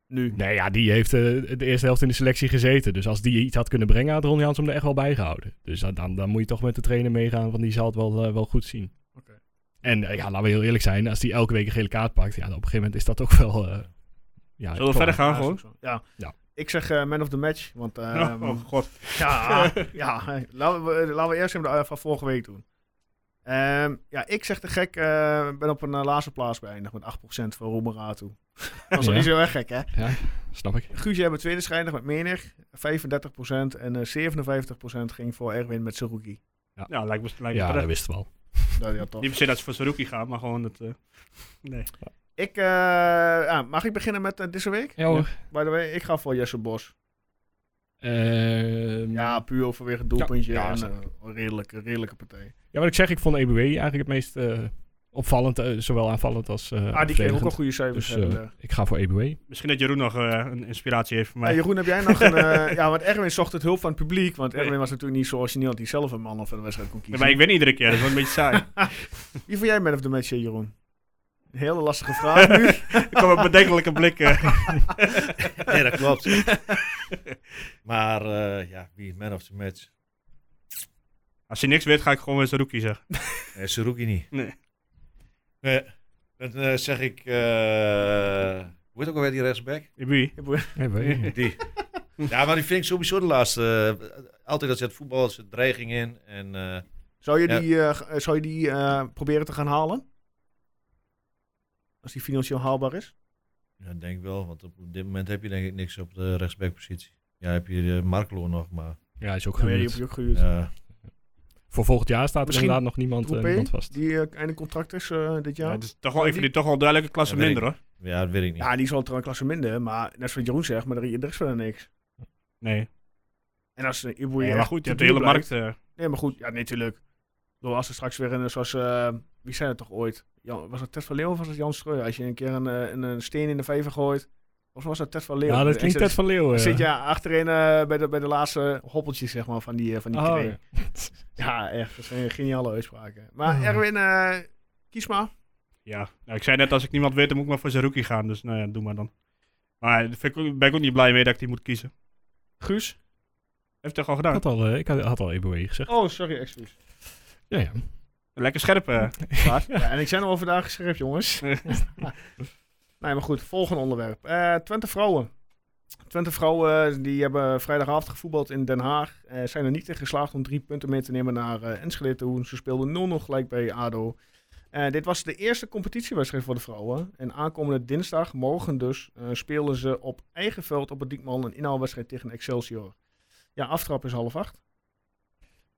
A: Nu.
B: Nee, ja, die heeft eh, de eerste helft in de selectie gezeten. Dus als die iets had kunnen brengen, had Ron Jans hem er echt wel bij gehouden. Dus dan, dan, dan moet je toch met de trainer meegaan, want die zal het wel, eh, wel goed zien.
A: Oké.
B: En eh, ja, laten we heel eerlijk zijn, als die elke week een gele kaart pakt, ja, dan op een gegeven moment is dat ook wel... eh, ja,
C: Zullen we verder gaan
A: Ja, is
C: gewoon?
A: ook zo. Ja.
B: Ja.
A: Ik zeg eh, man of the match, want... ehm,
C: oh, oh god.
A: Ja, ja. eh, Laten, we, eh, laten we eerst even de, eh, van vorige week doen. Ehm, ja, ik zeg te gek, eh, ben op een eh, laatste plaats beëindigd met 8% voor Romeratu. Dat is
B: Ja.
A: niet zo erg gek, hè?
B: Snap ik.
A: Guusje hebben tweede schijnig met Menig, 35%. En eh 57% ging voor Erwin met Suruki.
C: Ja, lijkt me, lijkt me
B: Ja, dat
C: terecht.
B: wist wel.
A: Dat, ja, toch.
C: Niet per se dat ze voor Saruki gaan, maar gewoon het... eh, nee.
A: Ik, eh, ja, mag ik beginnen met eh, deze week?
B: Ja hoor.
A: By the way, ik ga voor Jesse Bos.
B: Ehm,
A: Ja, puur vanwege het doelpuntje
B: Ja, ja,
A: en
B: snap
A: eh, een redelijke, redelijke partij.
B: Ja, wat ik zeg, ik vond EBW eigenlijk het meest eh, opvallend, eh, zowel aanvallend als eh
A: ah, die kreeg ook
B: verdedigend.
A: al goede cijfers.
B: Dus
A: hebben,
B: eh,
A: eh.
B: ik ga voor EBW.
C: Misschien dat Jeroen nog eh, een inspiratie heeft voor mij.
A: Hey, Jeroen, heb jij nog een... eh, ja, want Erwin zocht het hulp van het publiek. Want Erwin was natuurlijk niet zo origineel dat hij zelf een man of een wedstrijd kon
C: Nee,
A: kiezen.
C: maar ik win iedere keer, dat is wel een beetje saai.
A: Wie vond jij man of the match, eh, Jeroen? Een hele lastige vraag Ah, nu.
C: Ik kom met bedenkelijke blikken.
G: Nee, dat klopt. maar eh, ja, wie man of the match?
C: Als je niks weet, ga ik gewoon weer Saruki zeggen.
G: Nee, Saruki niet.
C: Nee.
G: Nee, dan eh, zeg ik... eh hoe heet ook alweer die rechtsback?
C: Ibu.
A: eh.
B: EBW.
G: Die. ja, maar die vind ik sowieso de laatste. eh, altijd als je het voetbal, als er dreiging in. En, eh,
A: Zou je
G: Ja.
A: die, eh, g- eh, zou je die eh, proberen te gaan halen? Als die financieel haalbaar is?
G: ja, ik denk wel, want op dit moment heb je denk ik niks op de rechtsbackpositie. Ja, heb je de Marklo nog, maar...
B: Ja, is ook
A: Ja, die heb
B: goed.
A: je ook gehuurd.
G: ja.
B: Voor volgend jaar staat er
A: Misschien
B: inderdaad nog niemand, eh,
A: Troepé,
B: niemand vast.
A: Die eh, einde contract is eh, dit
C: Ja,
A: jaar.
C: het is toch wel, ik vind die toch wel duidelijk een klasse
G: Ja, weet
C: minder hoor.
G: ja, dat weet ik niet.
A: Ja, die is wel trouwens een klasse minder, maar net zoals Jeroen zegt, maar er, er is verder niks.
C: Nee.
A: En als uh, Ibu
C: Ja, maar goed, je
A: hebt
C: hebt de hele markt. eh,
A: Nee, maar goed, ja, natuurlijk. Door als er straks weer een, zoals, eh, wie zei het toch ooit? Jan, was het Ted van Leeuwen of was het Jan Streur? Als je een keer een, eh, een, een steen in de vijver gooit, of was het Ted van Leeuwen?
B: Ja, dat
A: Ik
B: klinkt
A: zit-
B: Ted van Leeuwen.
A: Dan zit je achterin eh, bij, de, bij de laatste hoppeltjes zeg maar, van die, eh, van die
B: Oh,
A: twee.
B: ja.
A: Ja, echt. Dat zijn geniale uitspraken. Maar
B: Oh.
A: Erwin, eh, kies maar.
C: ja, nou, ik zei net, als ik niemand weet, dan moet ik maar voor Saruki gaan. Dus nou ja, doe maar dan. Maar daar vind ik ook- ben ik ook niet blij mee dat ik die moet kiezen.
A: Guus.
C: Heeft hij toch al
B: Ik
C: gedaan?
B: had al, eh, ik had, had al EBW gezegd.
A: Oh, sorry, excuus.
B: Ja, ja.
C: Lekker scherp. eh.
A: Ja, en ik zijn al vandaag scherp, jongens. nee, maar goed. Volgende onderwerp. Eh, Twente Vrouwen. Twente Vrouwen, die hebben vrijdagavond gevoetbald in Den Haag. Eh, zijn er niet in geslaagd om drie punten mee te nemen naar eh, Enschede toe. Ze speelden 0 nog gelijk bij ADO. Eh, dit was de eerste competitiewedstrijd voor de vrouwen. En aankomende dinsdag, morgen dus, eh, spelen ze op eigen veld op het Diekman een inhaalwedstrijd tegen Excelsior. Ja, aftrap is half acht.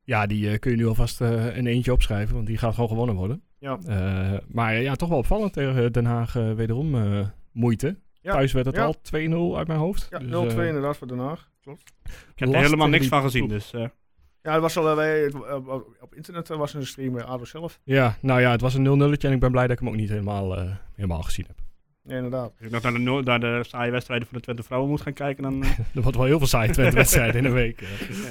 B: ja, die eh, kun je nu alvast eh, een eentje opschrijven, want die gaat gewoon gewonnen worden.
A: Ja.
B: Eh, maar eh, ja, toch wel opvallend tegen eh, Den Haag eh, wederom eh, moeite.
A: Ja.
B: Thuis werd het
A: Ja.
B: al 2-0 uit mijn hoofd.
A: Ja,
B: Dus,
A: 0-2
B: eh,
A: inderdaad voor Den Haag. Klopt.
C: Ik heb er
B: last
C: helemaal
B: tegen
C: niks
B: die
C: van gezien.
B: ploeg.
C: Dus eh,
A: Ja, het was al, eh, wij- het- op, op- op internet eh, was een stream bij ADO zelf.
B: Ja, nou ja, het was een 0-0'tje en ik ben blij dat ik hem ook niet helemaal, eh, helemaal gezien heb.
A: Ja, inderdaad.
C: als ik nog naar de, nul- naar de saaie wedstrijden van de Twente Vrouwen moet gaan kijken, dan. eh,
B: Er wordt wel heel veel saaie Twente wedstrijden in een week. eh.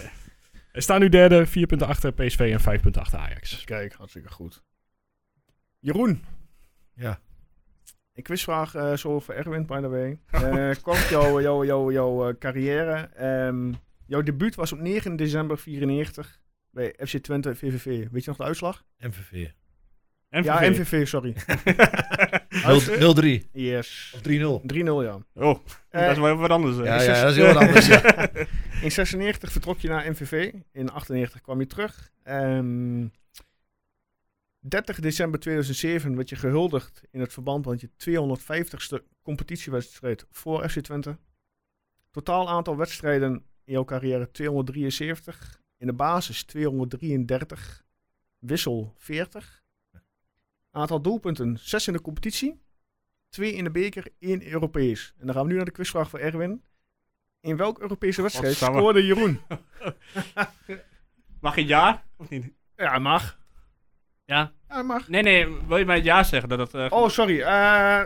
B: Er staan nu derde, 4 punten achter PSV en 5 punten achter Ajax.
A: Kijk, hartstikke goed. Jeroen.
G: Ja.
A: Een quizvraag eh, zo voor Erwin, by the way. Eh kort jouw jouw jouw jouw, eh, carrière. Ehm, jouw debuut was op 9 december 94 bij FC Twente VVV. Weet je nog de uitslag?
G: MVV.
C: MVV.
A: Ja, MVV, sorry.
G: 0-3.
A: Yes.
G: Ah, Of 3-0.
A: 3-0, ja.
C: Oh,
A: Eh,
C: dat is wel even wat anders. eh.
G: Ja, ja, dat is heel wat anders. ja.
A: In 96 vertrok je naar MVV. In 98 kwam je terug. Ehm, 30 december 2007 werd je gehuldigd in het verband met je 250ste competitiewedstrijd voor FC Twente. Totaal aantal wedstrijden in jouw carrière 273. In de basis 233. Wissel 40. Aantal doelpunten 6 in de competitie. 2 in de beker, 1 Europees. En dan gaan we nu naar de quizvraag voor Erwin. In welke Europese wedstrijd
C: Godsamme.
A: scoorde Jeroen?
C: Mag je ja? Of niet?
A: Ja, mag.
C: Ja.
A: Ja, dat mag.
C: Nee, nee, wil je mij ja zeggen? Dat dat, eh,
A: Oh, sorry. Eh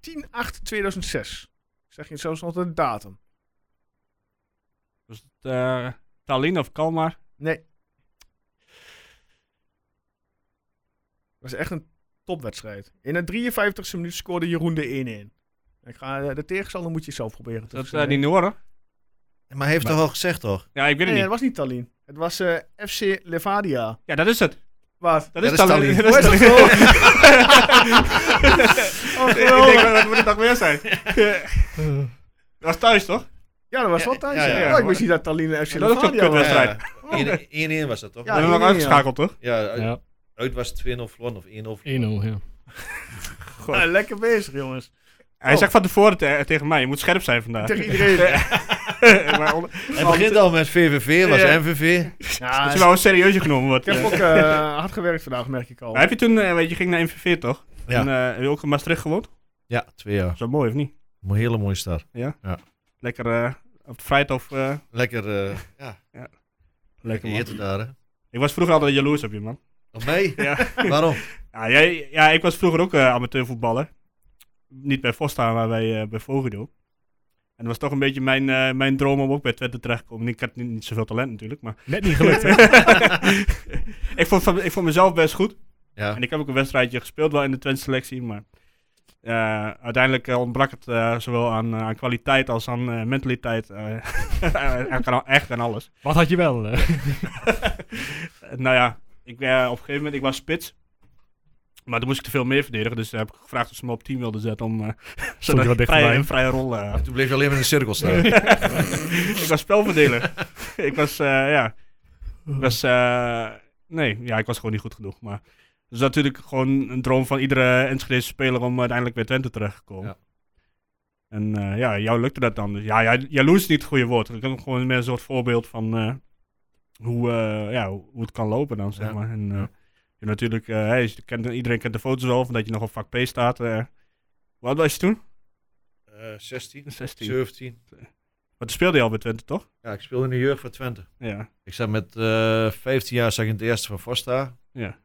A: 10-8-2006. Zeg je zelfs nog de datum?
C: was het, eh, Tallinn of Kalmar?
A: Nee. Dat was echt een topwedstrijd. In de 53e minuut scoorde Jeroen de 1-1. Ik ga, eh, de tegenstander moet je zelf proberen te
C: Dat is
A: verzinnen.
C: eh, die Noorden.
G: Maar hij heeft
B: Maar-
G: toch al gezegd, toch?
C: Ja, ik weet het
A: Nee,
C: niet.
A: dat was niet Tallinn. Het was eh, FC Levadia.
C: Ja, dat is het.
A: Wat?
C: Dat
G: Ja,
C: is
G: dat is
C: Tallinn.
G: Tallinn.
C: Dat is
A: Hoe is dat
C: Tallinn.
A: Oh,
C: Ik
A: geweldig.
C: denk, dat moet het nog meer zijn. Dat was thuis, toch?
A: Ja, dat was wel thuis.
G: Ja, ja,
A: ja.
G: ja.
A: Oh, ik wist niet dat Tallinn en FC
C: dat is ook
A: Levadia was.
C: kutwedstrijd.
G: Ja, 1-1 was dat toch?
A: Ja.
C: we hebben
A: die-
C: nog uitgeschakeld, toch?
G: Ja, uit-
B: Ja, 1-0,
G: uit was het 2-0 verloren of 1-0 verloren.
B: ja.
A: Ja, Ah, lekker bezig, jongens.
C: Hij zegt van tevoren te- eh, tegen mij, je moet scherp zijn vandaag.
A: Tegen iedereen.
C: maar on-
G: Hij begint al met VVV, was
A: Ja.
G: MVV.
A: Ja,
C: als je wel serieus genomen wordt.
A: dus- ik heb
C: eh.
A: ook eh, hard gewerkt vandaag, merk ik al.
C: Maar heb je toen, eh, weet je, je ging naar MVV, toch?
G: Ja.
C: En eh, heb je ook in Maastricht gewoond?
G: Ja, twee jaar.
C: Dat is wel mooi, of niet?
G: Een hele mooie start.
C: Lekker eh, op de vrijdag. eh
G: Lekker, eh ja,
C: lekker man.
G: eten daar, hè.
C: Ik was vroeger altijd jaloers op je, man.
G: Op mij?
C: Ja.
G: Waarom?
C: Ja, jij, ja, ik was vroeger ook eh, amateurvoetballer. Niet bij Vosta, maar bij, eh, bij Vogedo. En dat was toch een beetje mijn, eh, mijn droom om ook bij Twente terecht te komen. Ik had niet, niet zoveel talent natuurlijk, maar...
B: Net niet gelukt. hè?
C: ik, vond, van- ik vond mezelf best goed.
G: Ja.
C: En ik heb ook een wedstrijdje gespeeld wel in de Twente selectie, maar... eh, uiteindelijk eh, ontbrak het eh, zowel aan, eh, aan kwaliteit als aan eh, mentaliteit. eh, en kan- echt aan alles.
B: Wat had je wel? eh?
C: Eh, nou ja, ik, eh, op een gegeven moment, ik was spits. Maar toen moest ik te veel meer verdedigen. Dus heb ik gevraagd of ze me op team wilden zetten om eh, zodat
B: je wat
C: ik vrije,
B: dichterbij?
C: een vrije rol eh, had.
G: Toen bleef je alleen maar in een cirkel staan.
C: ik was spelverdeler. ik was, eh, ja... Ik was, eh, nee, ja, ik was gewoon niet goed genoeg. Maar het is natuurlijk gewoon een droom van iedere Enschedese speler om uiteindelijk bij Twente terecht te komen.
G: Ja.
C: En eh, ja, jou lukte dat dan. Dus ja, ja, jaloers is niet het goede woord. Ik heb gewoon meer een soort voorbeeld van eh, hoe, eh, ja, hoe hoe het kan lopen dan, zeg
G: Ja.
C: maar. En, eh,
G: Ja.
C: je natuurlijk, eh, hey, je kent, iedereen kent de foto's wel van dat je nog op vak P staat. eh. hoe oud was je toen?
G: Eh 16,
C: 16.
G: 17.
C: Maar toen speelde je al bij Twente, toch?
G: Ja, ik speelde in de jeugd van Twente.
C: Ja.
G: Ik zat met eh 15 jaar zat ik in het eerste van Vosta.
C: Ja.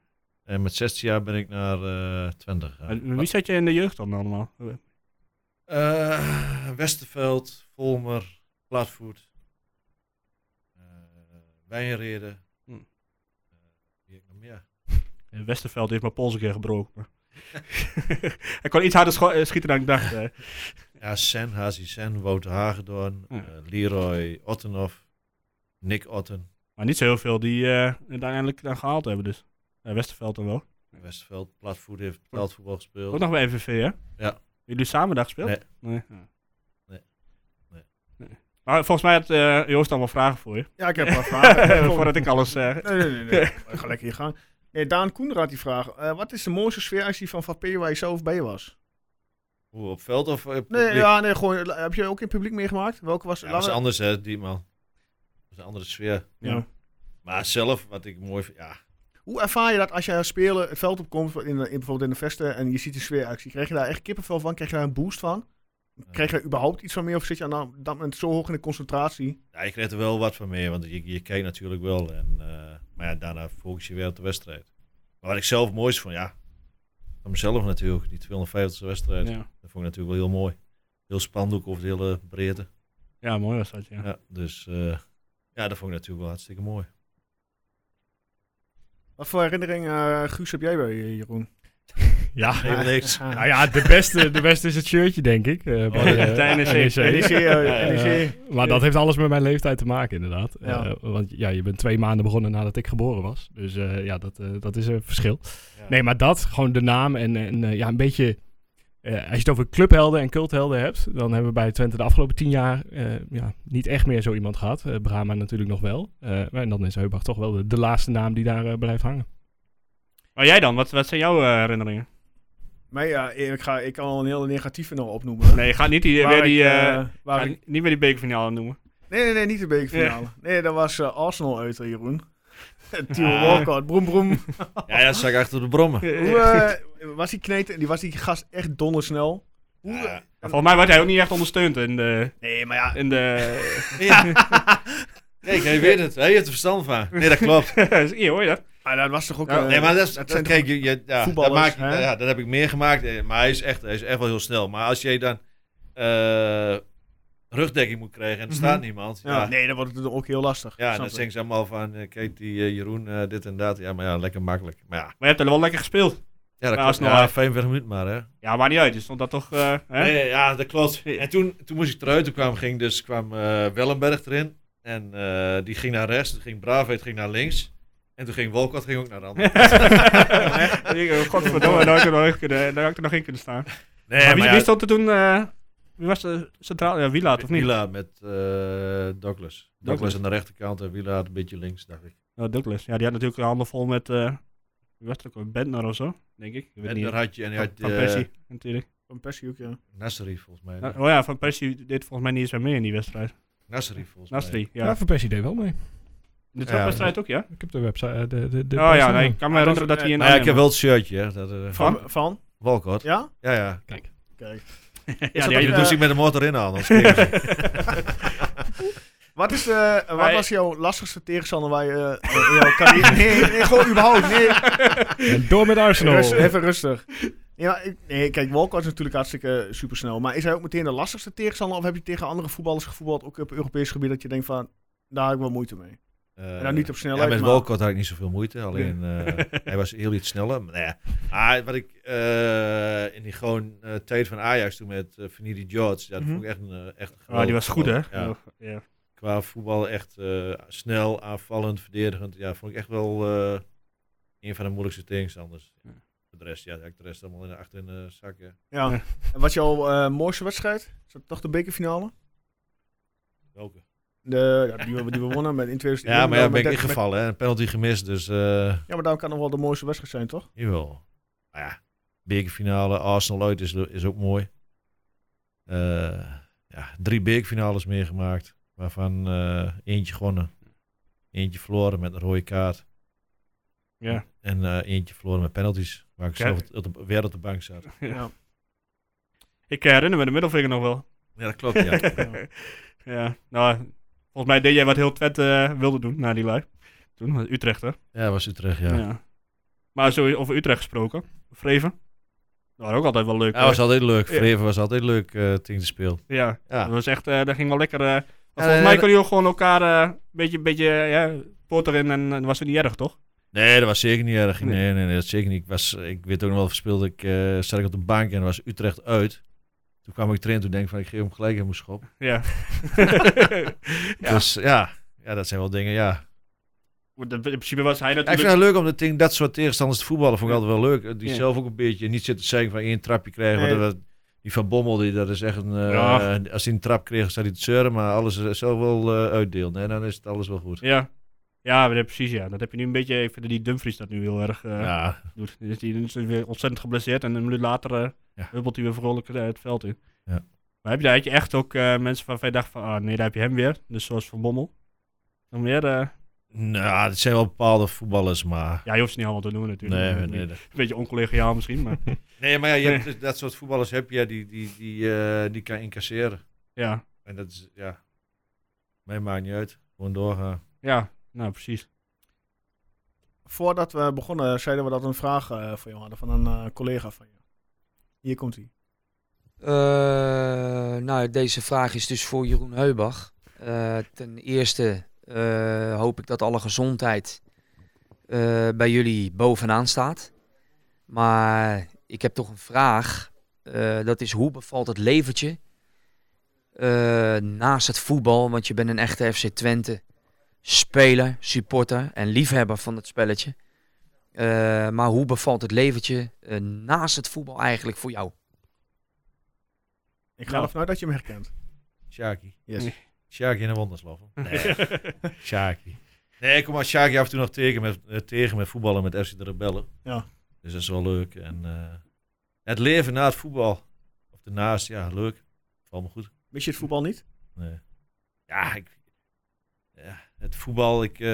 G: En met 16 jaar ben ik naar eh Twente gegaan.
C: En wie zat je in de jeugd dan allemaal?
G: Eh, Westerveld, Volmer, Platvoet, eh Wijnreden.
C: Hm.
G: Eh, wie heb ik nog meer?
C: In Westerveld heeft mijn pols een keer gebroken. maar- Hij kon iets harder scho- eh, schieten dan ik dacht. eh.
G: Ja, Sen, Hazi Sen, Wouter Hagedorn,
C: Ja.
G: eh, Leroy Ottenhoff, Nick Otten,
C: Maar niet zo heel veel die eh, het uiteindelijk dan gehaald hebben dus. Eh, Westerveld dan wel.
G: Westerveld, Platvoet heeft veldvoetbal gespeeld.
C: Ook nog bij MVV, hè?
G: Ja.
C: Jullie samen daar gespeeld?
G: Nee.
C: Nee. Ja.
G: Nee. Nee.
C: Nee. Maar volgens mij had eh, Joost allemaal vragen voor je.
A: Ja, ik heb wel vragen.
C: Voordat ik alles... eh,
A: Nee, nee, nee. nee. Ga lekker hier gaan. Nee, Daan Koenraad die vraag. eh, wat is de mooiste sfeeractie van Van P waar je zelf bij was?
G: Hoe, op veld of eh,
A: Nee,
G: publiek?
A: ja, nee, gewoon, eh, heb je ook in het publiek meegemaakt? Welke was...
G: Ja,
A: laten
G: dat is
A: we-
G: anders, hè, die man. Dat is een andere sfeer.
C: ja.
G: Maar zelf, wat ik mooi vind, ja.
A: Hoe ervaar je dat als jij als speler het veld opkomt, in, de- in, bijvoorbeeld in de vesten, en je ziet een sfeeractie? Krijg je daar echt kippenvel van? Krijg je daar een boost van? Krijg je daar überhaupt iets van mee? Of zit je aan dat- dat moment zo hoog in de concentratie?
G: ja, je krijgt er wel wat van mee, want je, je kijkt natuurlijk wel. En, eh, maar ja, daarna focus je weer op de wedstrijd. Maar wat ik zelf mooi is van, ja, van mezelf natuurlijk, die 250ste wedstrijd.
C: Ja.
G: Dat vond ik natuurlijk wel heel mooi. Heel spandoek over de hele breedte.
C: ja, mooi was dat, ja.
G: Ja. dus eh, ja, dat vond ik natuurlijk wel hartstikke mooi.
A: Wat voor herinnering, eh, Guus, heb jij bij je, Jeroen?
B: ja,
G: Helemaal niks.
A: Ah.
B: nou ja, de beste, de beste is het shirtje, denk ik. eh, bij,
G: ja.
B: eh,
C: Bij NEC.
A: En die zie je,
B: Eh,
A: en die zie je-
B: maar dat heeft alles met mijn leeftijd te maken, inderdaad.
A: Ja.
B: Eh, want ja, je bent twee maanden begonnen nadat ik geboren was. Dus eh, ja, dat, eh, dat is een verschil. Nee, maar dat, gewoon de naam en, en eh, ja, een beetje... eh, als je het over clubhelden en culthelden hebt, dan hebben we bij Twente de afgelopen tien jaar eh, ja, niet echt meer zo iemand gehad. Eh, Brahma natuurlijk nog wel. Eh, en dan is Heubach toch wel de, de laatste naam die daar eh, blijft hangen.
C: Maar jij dan? Wat, wat zijn jouw eh, herinneringen?
A: Maar ja, ik, ga, ik kan al een hele negatieve nog opnoemen.
C: Nee, je gaat niet die, weer
A: Waar
C: die...
A: ik,
C: eh,
A: eh, waar
C: ga
A: ik-
C: niet meer die bekerfinale noemen.
A: Nee, nee, nee, niet de bekerfinale. Nee, dat was eh, Arsenal uit, eh, Jeroen. Timo Walcott, broem broem.
G: Ja, ja, zag ik achter de brommen.
A: Hoe, eh, was die kneten, die was die gast echt dondersnel. Hoe, eh,
G: Ja.
C: Maar Volgens mij werd hij ook niet echt ondersteund in de...
A: nee, maar ja,
C: In de
G: Kijk, hij weet het. Hij heeft er verstand van. Nee, dat klopt.
C: Hier, hoor je dat?
A: maar dat was toch ook... eh,
G: nee, maar dat, is,
A: dat
G: dat
A: zijn
G: kijk, je, je- ja, dat,
A: voetballers,
G: maak, ik-
A: hè?
G: ja, dat heb ik meer gemaakt. eh, Maar hij is echt, hij is echt wel heel snel. Maar als jij dan eh, rugdekking moet krijgen en er staat niemand.
A: ja,
G: Ja,
A: Nee, dan wordt het dan ook heel lastig.
G: ja
A: Snap
G: dan
A: ik.
G: zeggen ze allemaal van, eh, kijk die eh, Jeroen, eh, dit en dat. Ja, maar ja, lekker makkelijk. Maar ja,
C: Maar je hebt er wel lekker gespeeld.
G: Ja, dat
C: Maar
G: klopt.
C: alsnog-
G: Ja, 45 minuten maar, hè.
C: Ja, maar niet uit. Dus stond dat toch... eh, hè?
G: Nee, nee, ja, dat klopt. En toen, toen moest ik eruit. Toen kwam, ging dus, kwam eh, Wellenberg erin. En eh, die ging naar rechts. Toen ging Braafheid ging naar links. En toen ging Wolcott ging ook naar de andere kant.
C: Ik, eh, Godverdomme, daar had ik er nog in kunnen- daar had ik er nog in kunnen staan.
G: Nee,
C: maar wie,
G: maar ja,
C: wie stond er toen... eh, wie was de centraal? Ja, Wielaert, of niet?
G: Wila met eh, Douglas. Douglas aan de rechterkant en Wila een beetje links, dacht ik.
C: Nou, Douglas. Ja, die had natuurlijk handen vol met... eh wie was het ook? alweer? Bentner of zo, denk ik. ik weet
G: En
C: niet.
G: daar had je, en je
C: Van,
G: had
C: van
G: eh,
C: Persie, natuurlijk.
A: Van Persie ook, ja.
G: Nasri volgens mij.
C: Oh ja, Van Persie deed volgens mij niet eens meer mee in die wedstrijd.
G: Nasri volgens mij.
C: Nastri, ja.
B: Ja, Van Persie deed wel mee.
C: In de trapwedstrijd ook, ja?
B: Ik heb de website. eh, De, de, de
C: Oh ja,
B: website
C: nee,
B: nog.
C: ik kan me herinneren dat hij in
G: Nou ja, ik
C: Arnhem
G: heb wel het shirtje, hè. Dat, eh,
C: Van?
A: Van? Van?
G: Walcott.
A: Ja?
G: Ja, ja.
A: Kijk.
C: was.
A: Is
C: Ja,
A: dat
C: die
A: ook,
G: Je
C: had-
A: eh,
G: doet zich met de motor in aan. anders kregen ze.
A: Wat, is de, eh, wat
C: Maar-
A: was jouw lastigste tegenstander waar je eh, in jouw carrière... Nee, nee, gewoon überhaupt, nee.
B: En door met Arsenal.
A: Rust- even rustig. Ja, ik, nee, kijk, Walcott is natuurlijk hartstikke eh, supersnel. Maar is hij ook meteen de lastigste tegenstander? Of heb je tegen andere voetballers gevoetbald, ook op Europees gebied, dat je denkt van, daar heb ik wel moeite mee?
G: Eh,
A: En dan niet op snelheid,
G: Ja, met
A: maar-
G: Walcott had ik niet zoveel moeite. Alleen eh, hij was heel iets sneller. Maar, nou ja. Ah, wat ik eh, in die gewoon eh, tijd van Ajax toen met eh Vanidi George, dat
A: Mhm.
G: vond ik echt een, eh, echt een
C: Ah, die was goed, hè?
G: geweldig- ja.
C: Ja.
G: Qua voetbal echt eh, snel, aanvallend, verdedigend. Ja, vond ik echt wel eh, een van de moeilijkste tegenstanders.
C: Ja.
G: Voor De rest, ja, ik de rest allemaal in de achter in de zak. ja.
A: Ja.
C: Ja.
A: En wat is jouw eh, mooiste wedstrijd? Is dat toch de bekerfinale?
G: Welke?
A: De, ja, die, we, die we wonnen met in 2000.
G: Ja, maar ja, ben
A: met-
G: ik
A: met-
G: ingevallen. hè. Een penalty gemist, dus eh
A: Ja, maar daarom kan nog wel de mooiste wedstrijd zijn, toch?
G: jawel. Maar ja, bekerfinale, Arsenal uit is, is ook mooi. Eh, ja, drie bekerfinales meegemaakt, waarvan eh, eentje gewonnen. Eentje verloren met een rode kaart.
C: Ja.
G: En eh, eentje verloren met penalties, waar ik
C: Kijk.
G: zelf op de, weer op de bank zat.
C: Ik eh, herinner me de middelvinger nog wel.
G: Ja, dat klopt, ja.
C: ja, nou, volgens mij deed jij wat heel Twente eh, wilde doen na die lui. Toen, was Utrecht, hè?
G: Ja, was Utrecht, ja. ja.
C: Maar zo over Utrecht gesproken, Vreven. Dat was ook altijd wel leuk.
G: Dat
C: hoor.
G: was altijd leuk.
C: Ja.
G: Vreven was altijd leuk eh tegen te speel.
C: Ja,
G: Ja.
C: dat was echt, eh, dat ging wel lekker. eh. Maar
G: eh,
C: volgens mij
G: dat-
C: kon je ook gewoon elkaar eh, een beetje, beetje eh, ja, poot erin en eh, was het niet erg, toch?
G: Nee, dat was zeker niet erg.
C: Nee.
G: Nee, nee, nee, dat zeker niet. Ik, was, ik weet ook nog wel, verspeelde ik, eh zat ik op de bank en was Utrecht uit. Toen kwam ik erin, toen denk ik van, ik geef hem gelijk in mijn schop.
C: Ja. Ja.
G: Dus ja, ja, dat zijn wel dingen, ja.
C: Want In principe was hij
G: Ja, ik
C: natuurlijk...
G: vind het leuk om dat, ding, dat soort tegenstanders te voetballen, vond ik
C: Ja.
G: altijd wel leuk. Eh, Die
C: Ja.
G: zelf ook een beetje niet zitten zeggen van één trapje krijgen.
A: Nee.
G: want dat- die Van Bommel, die, dat is echt een... eh,
C: Ja.
G: Als hij een trap kreeg, staat hij te zeuren, maar alles eh, zelf wel eh, uitdeelt. En dan is het alles wel goed.
C: Ja. Ja, maar dat- precies, ja. Dat heb je nu een beetje... Ik vind dat die Dumfries dat nu heel erg eh,
G: Ja,
C: doet. Dus die is weer ontzettend geblesseerd en een minuut later eh,
G: Ja.
C: huppelt hij weer vrolijk eh, het veld in.
G: Ja.
C: Maar heb je, daar had je echt ook eh, mensen waarvan je dacht van... Ah, nee, daar heb je hem weer. Dus zoals Van Bommel. Dan weer... eh,
G: nou, het zijn wel bepaalde voetballers, maar...
C: ja, je hoeft ze niet allemaal te noemen natuurlijk.
G: Nee,
C: Eh,
G: nee,
C: die-
G: nee.
C: Een beetje oncollegiaal misschien, maar...
G: Nee, maar ja, je hebt, dus dat soort voetballers heb je die, die, die, eh, die kan incasseren.
C: ja.
G: En dat is, ja, mij maakt niet uit. Gewoon eh, doorgaan.
C: Ja, nou precies.
A: Voordat we begonnen, zeiden we dat we een vraag eh, voor jou hadden van een eh, collega van je. Hier komt hij.
K: Eh, nou, deze vraag is dus voor Jeroen Heubach. Eh, ten eerste eh, hoop ik dat alle gezondheid eh, bij jullie bovenaan staat. Maar ik heb toch een vraag. Eh, dat is hoe bevalt het leventje eh, naast het voetbal? Want je bent een echte FC Twente speler, supporter en liefhebber van het spelletje. Eh, maar hoe bevalt het leventje eh, naast het voetbal eigenlijk voor jou?
A: Ik ga
C: Nou.
A: ervan uit dat je hem herkent.
G: Shaki.
A: Yes.
C: Nee.
G: Shaki in de wonderslag. Nee,
C: Nou,
G: Shaki. Nee, ik kom maar Shaki af en toe nog tegen met, eh, tegen met voetballen met FC de Rebellen.
A: Ja.
G: Dus dat is wel leuk. En eh, het leven na het voetbal. Of daarnaast, ja, leuk. Valt me goed.
A: Mis je het voetbal niet?
G: Nee. Ja, ik, ja, het voetbal, ik eh,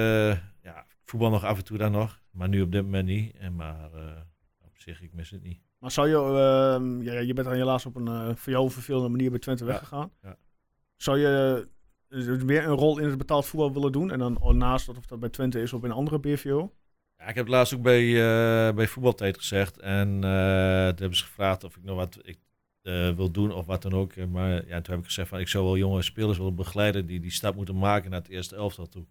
G: ja, ik voetbal nog af en toe dan nog, maar nu op dit moment niet. En maar eh, op zich, ik mis het niet.
A: Maar zou je, ehm, ja, ja, je bent dan helaas op een eh, voor jou vervelende manier bij Twente weggegaan.
G: ja.
A: Zou je eh, dus meer een rol in het betaald voetbal willen doen? En dan oh, naast dat of dat bij Twente is of bij een andere BVO?
G: Ja, ik heb het laatst ook bij, eh, bij voetbaltijd gezegd en eh toen hebben ze gevraagd of ik nog wat ik, eh, wil doen of wat dan ook. Eh, Maar ja, toen heb ik gezegd van ik zou wel jonge spelers willen begeleiden die die stap moeten maken naar het eerste elftal toe.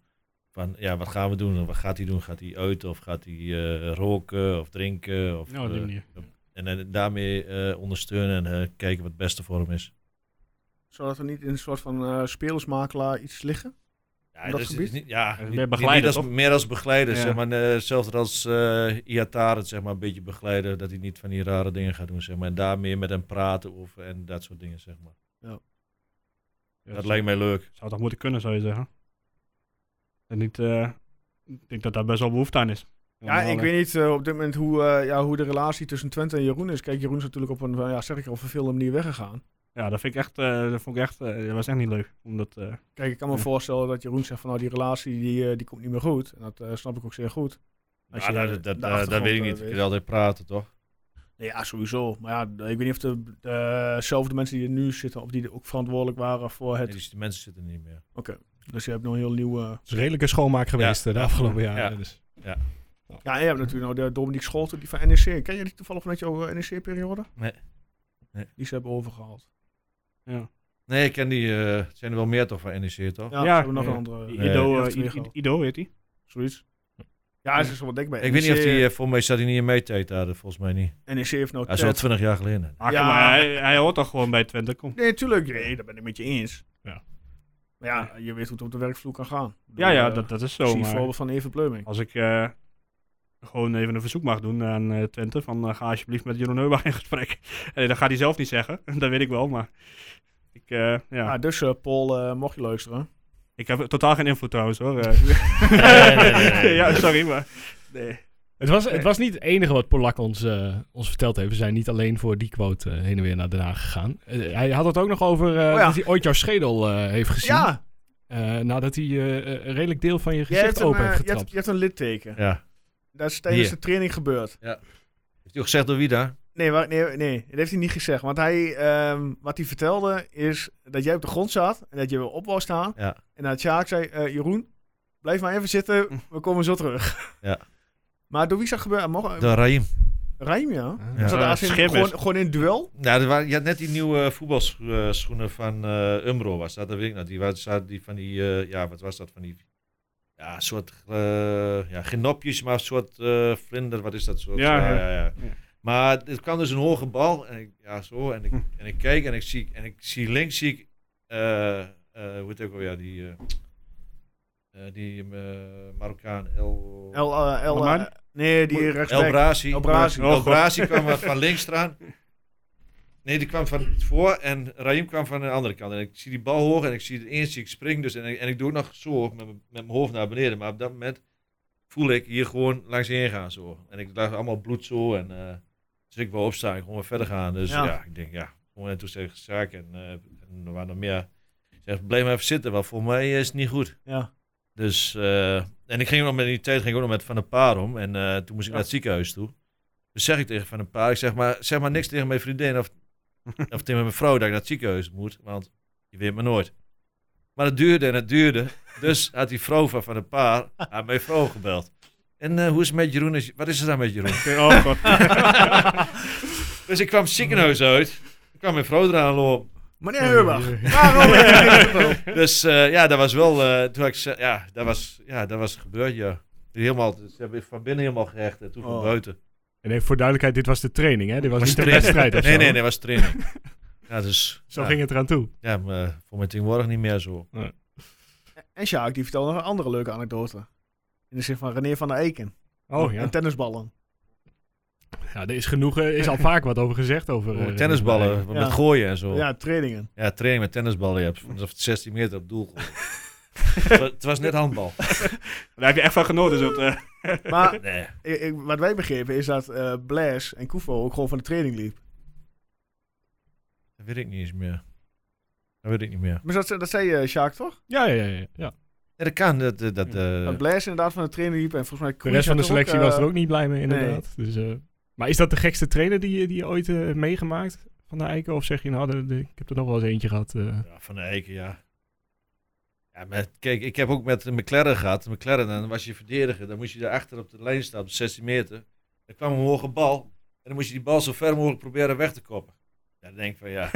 G: Van ja, wat gaan we doen? Wat gaat hij doen? Gaat hij uit of gaat hij eh, roken of drinken? Of,
C: Ja, op Nou, die
G: eh,
C: manier.
G: en eh, daarmee eh, ondersteunen en eh, kijken wat het beste voor hem is.
A: Zodat er niet in een soort van eh, spelersmakelaar iets liggen?
G: Ja,
A: op dat
G: dus het is
A: gebied?
G: niet- ja,
C: Meer
G: niet- niet-
C: begeleider,
G: niet als,
C: toch?
G: meer als begeleider,
C: Ja.
G: zeg maar. eh, Hetzelfde als eh Iatar het, zeg maar, een beetje begeleiden. Dat hij niet van die rare dingen gaat doen, zeg maar. En daar meer met hem praten over en dat soort dingen, zeg maar.
C: Ja,
G: dat lijkt mij leuk.
C: Zou toch moeten kunnen, zou je zeggen? En niet, eh, ik denk dat daar best wel behoefte aan is.
A: Ja, ik weet niet eh, op dit moment hoe, eh, ja, hoe de relatie tussen Twente en Jeroen is. Kijk, Jeroen is natuurlijk op een, eh, ja, zeg ik al, vervelende manier weggegaan.
C: Ja, dat vind ik echt, eh, dat vond ik echt, eh, dat was echt niet leuk. Omdat, eh,
A: Kijk, ik kan me
C: Ja.
A: voorstellen dat Jeroen zegt van nou, die relatie die, eh, die komt niet meer goed. En dat eh, snap ik ook zeer goed. Als
G: Ja,
A: je
G: dat,
A: de
G: dat, dat, dat
A: achtergrond,
G: weet ik
A: eh,
G: niet. Je kunt altijd praten, toch?
A: Nee, ja, sowieso. Maar ja, ik weet niet of de, dezelfde mensen die er nu zitten, of die er ook verantwoordelijk waren voor het...
G: Nee, die, die mensen zitten er niet meer.
A: Oké, dus je hebt nog een heel nieuw... eh,
B: is redelijke schoonmaak geweest eh, de afgelopen
G: Ja.
B: jaren. Dus.
A: Ja, en je hebt natuurlijk nou de Dominique Scholten, die van NEC. Ken je die toevallig vanuit jouw eh, NEC-periode?
G: Nee. Nee.
A: Die ze hebben overgehaald.
G: Nee, ik ken die. eh, het zijn er wel meer toch van NEC, toch?
A: Ja,
C: Ja,
A: ze hebben nog
C: ja.
A: een andere.
G: Nee.
C: Ido,
A: die
C: eh,
A: heeft twee
C: I- I-
A: gehaald.
C: Ido heet hij.
A: Zoiets. Ja, het is wel wat E denkbaar.
G: Ik weet niet of die. eh, volgens mij zat hij niet in mijn tijd daar, dat volgens mij niet.
A: NEC heeft nou
G: Hij is al
A: Ted.
G: 20 jaar geleden.
C: Ah,
A: Ja.
C: kom maar hij, hij hoort toch gewoon bij Twente, kom.
A: Nee, tuurlijk. Nee, daar ben ik met je eens.
B: Ja.
A: Maar ja, je weet hoe het op de werkvloer kan gaan. Ik bedoel,
C: Ja, ja,
A: eh,
C: dat, dat is
A: Ik
C: zo.
A: zie een
C: Maar
A: voorbeeld van Even Pleuming.
C: als ik eh, gewoon even een verzoek mag doen aan eh, Twente, van eh, ga alsjeblieft met Jeroen Heubach in gesprek. Eh, dat gaat hij zelf niet zeggen, dat weet ik wel, maar ik, eh, ja.
A: Ah, dus eh, Paul, eh, mocht je luisteren.
C: ik heb totaal geen invloed trouwens hoor. Eh, ja, sorry, maar nee.
B: Het, was, het was niet het enige wat Polak ons, eh, ons verteld heeft. We zijn niet alleen voor die quote eh, heen en weer naar Den Haag gegaan. Eh, hij had het ook nog over eh,
A: Oh ja.
B: dat hij ooit jouw schedel eh, heeft gezien.
A: Ja,
B: Eh, nadat hij eh, een redelijk deel van je
A: jij
B: gezicht
A: hebt, een,
B: open
A: eh,
B: heeft
A: je, hebt,
B: getrapt.
A: je hebt een litteken.
G: Ja.
A: Dat is tijdens
G: Hier.
A: de training gebeurd.
G: Heeft hij ook gezegd door wie daar?
A: Nee, wa- nee, nee, dat heeft hij niet gezegd. Want hij, ehm, wat hij vertelde is dat jij op de grond zat en dat je weer op wou staan.
G: Ja.
A: En dat Sjaak zei, eh, Jeroen, blijf maar even zitten, we komen zo terug.
G: Ja.
A: Maar door wie zag gebeuren? Mocht,
G: Door Raim.
A: Rijm, ja.
G: Ja.
A: Zat
C: Eh,
A: AZ in-
C: Schimmers.
A: gewoon, gewoon in het duel?
G: Ja, Nou, er waren, je had net die nieuwe voetbalschoenen van eh Umbro was dat, dat weet ik nog. Die waren zaten die van die, eh, ja, wat was dat van die, ja, soort, eh, ja, geen nopjes, maar soort eh, vlinder, wat is dat soort? eh,
C: Ja, ja.
G: Maar er kwam dus een hoge bal en ik, ja, zo, en ik,
C: Hm.
G: en ik kijk en ik zie, en ik zie links zie ik, eh, eh, hoe heet het ook alweer, die, eh, eh, die eh, Marokkaan, El...
A: El, eh, El,
C: Almani?
A: eh, nee, die
G: El
A: rechtsback.
G: Brasi.
A: El Brasi.
G: El
C: Oh,
G: Brasi kwam eh, van links eraan. Nee, die kwam van voor en Raim kwam van de andere kant. En ik zie die bal hoog en ik zie de eerste, ik spring dus. En ik, en ik doe het nog zo met, mijn- met mijn hoofd naar beneden. Maar op dat moment voel ik hier gewoon langs heen gaan zo. En ik lag allemaal bloed zo. En, eh, dus ik wil opstaan en gewoon weer verder gaan. Dus
A: Ja.
G: ja, ik denk ja, gewoon en toen zei ik zaak. En, eh, en er waren nog meer. Ik zeg, blijf maar even zitten, want voor mij is het niet goed.
A: Ja.
G: Dus, eh, en ik ging ook nog met in die tijd ging ik ook nog met Van der Paar om. En eh, toen moest ik naar het ziekenhuis toe. Dus zeg ik tegen Van der Paar, ik zeg maar, zeg maar niks tegen mijn vriendin of, of tegen mijn vrouw dat ik naar het ziekenhuis moet. Want je weet maar nooit. Maar het duurde en het duurde. Dus had die vrouw van Van der Paar aan mijn vrouw gebeld. En eh, hoe is het met Jeroen? Is- Wat is er dan met Jeroen?
C: Oh god.
G: dus ik kwam het ziekenhuis uit. Ik kwam mijn vrouw eraan lopen.
A: Meneer Heurbach, waarom heb je niks verteld?
G: Dus eh, ja, dat was wel. eh, toen had ik, ze- ja, dat was, ja, dat was gebeurd, ja. Helemaal, ze hebben van binnen helemaal gehecht en toen van
A: Oh.
G: buiten.
B: En even voor duidelijkheid, dit was de training, hè? Dit was niet de
G: Training.
B: wedstrijd of
G: Nee,
B: zo.
G: nee, nee, was training. ja, dus.
B: Zo
G: ja,
B: ging het eraan toe.
G: Ja, maar voor mijn tegenwoordig niet meer zo.
A: En Sjaak, die vertelde nog een andere leuke anekdote. In de zin van René van der Eiken.
B: Oh ja.
A: En tennisballen.
B: ja er is genoeg, eh, is al vaak wat over gezegd. Over,
G: Met
B: eh,
G: tennisballen,
B: René.
G: met gooien en zo. Ja.
A: Ja, trainingen.
G: training met tennisballen. Je hebt vanaf 16 meter op doel gegooid. het, wa- het was net handbal.
C: Daar heb je echt van genoten. Zo, eh.
A: Maar
G: Nee.
A: ik- ik- wat wij begrepen is dat eh Blaise en Koevo ook gewoon van de training liep.
G: Dat weet ik niet eens meer. Dat weet ik niet meer.
A: Maar dat, dat zei je, Sjaak, toch?
B: Ja, ja, ja. ja, ja.
G: Ja, dat kan. Dat, dat, dat, eh,
A: Dat Blaise inderdaad van de training liep en volgens mij...
B: De rest van de selectie was
A: eh,
B: er ook niet blij mee,
A: nee.
B: inderdaad. Dus, eh, maar is dat de gekste trainer die, je- die je ooit eh, hebt meegemaakt van de Eiken? Of zeg je, nou, de- de- ik heb er nog wel eens eentje gehad. eh.
G: Ja, van de Eiken, ja. ja maar kijk, ik heb ook met een McLaren gehad. Een McLaren, dan was je verdediger. Dan moest je daar achter op de lijn staan, op de 16 meter. Dan kwam een hoge bal. En dan moest je die bal zo ver mogelijk proberen weg te koppen. Ja, dan denk ik van ja.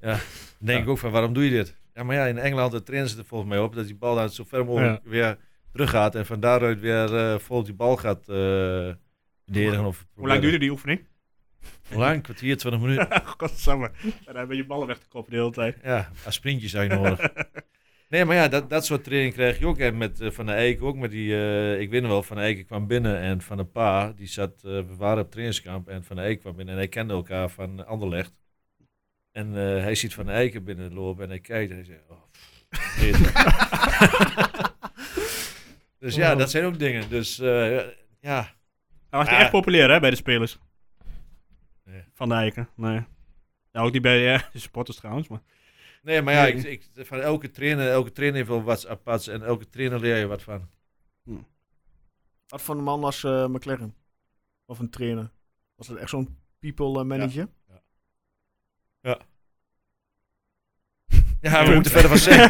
G: ja dan denk ik ook van waarom doe je dit? Ja, maar ja, in Engeland de trainen ze er volgens mij op dat die bal dan zo ver mogelijk
C: Ja.
G: weer terug gaat en van daaruit weer eh vol die bal gaat eh verdedigen. Of
C: Hoe lang duurde die oefening?
G: Hoe lang? Een kwartier, twintig minuten.
C: Godsamme. En dan ben je ballen weg te koppen de hele tijd.
G: Ja, als sprintjes eigenlijk nodig. Nee, maar ja, dat, dat soort training krijg je ook. En met eh, Van der Eyck ook. Met die, eh, ik weet nog wel, Van der Eyck kwam binnen en Van der Pa, die zat, eh, we waren op trainingskamp en Van der Eyck kwam binnen en hij kende elkaar van Anderlecht. En eh, hij ziet Van der Eyck binnen lopen en hij kijkt en hij zegt, oh, pff, dit. Dus ja, dat zijn ook dingen. Dus eh, ja.
C: Hij was niet
G: Ah.
C: echt populair hè, bij de spelers. Van de Eiken, nee. Nou, ook niet bij eh, de supporters trouwens, maar...
G: Nee, maar ja,
C: Nee.
G: ik, ik, van elke trainer, elke trainer heeft wel wat aparts en elke trainer leer je wat van.
A: Wat voor een man was eh, McLaren? Of een trainer? Was dat echt zo'n people eh, manager?
G: Ja, we moeten verder van zeggen.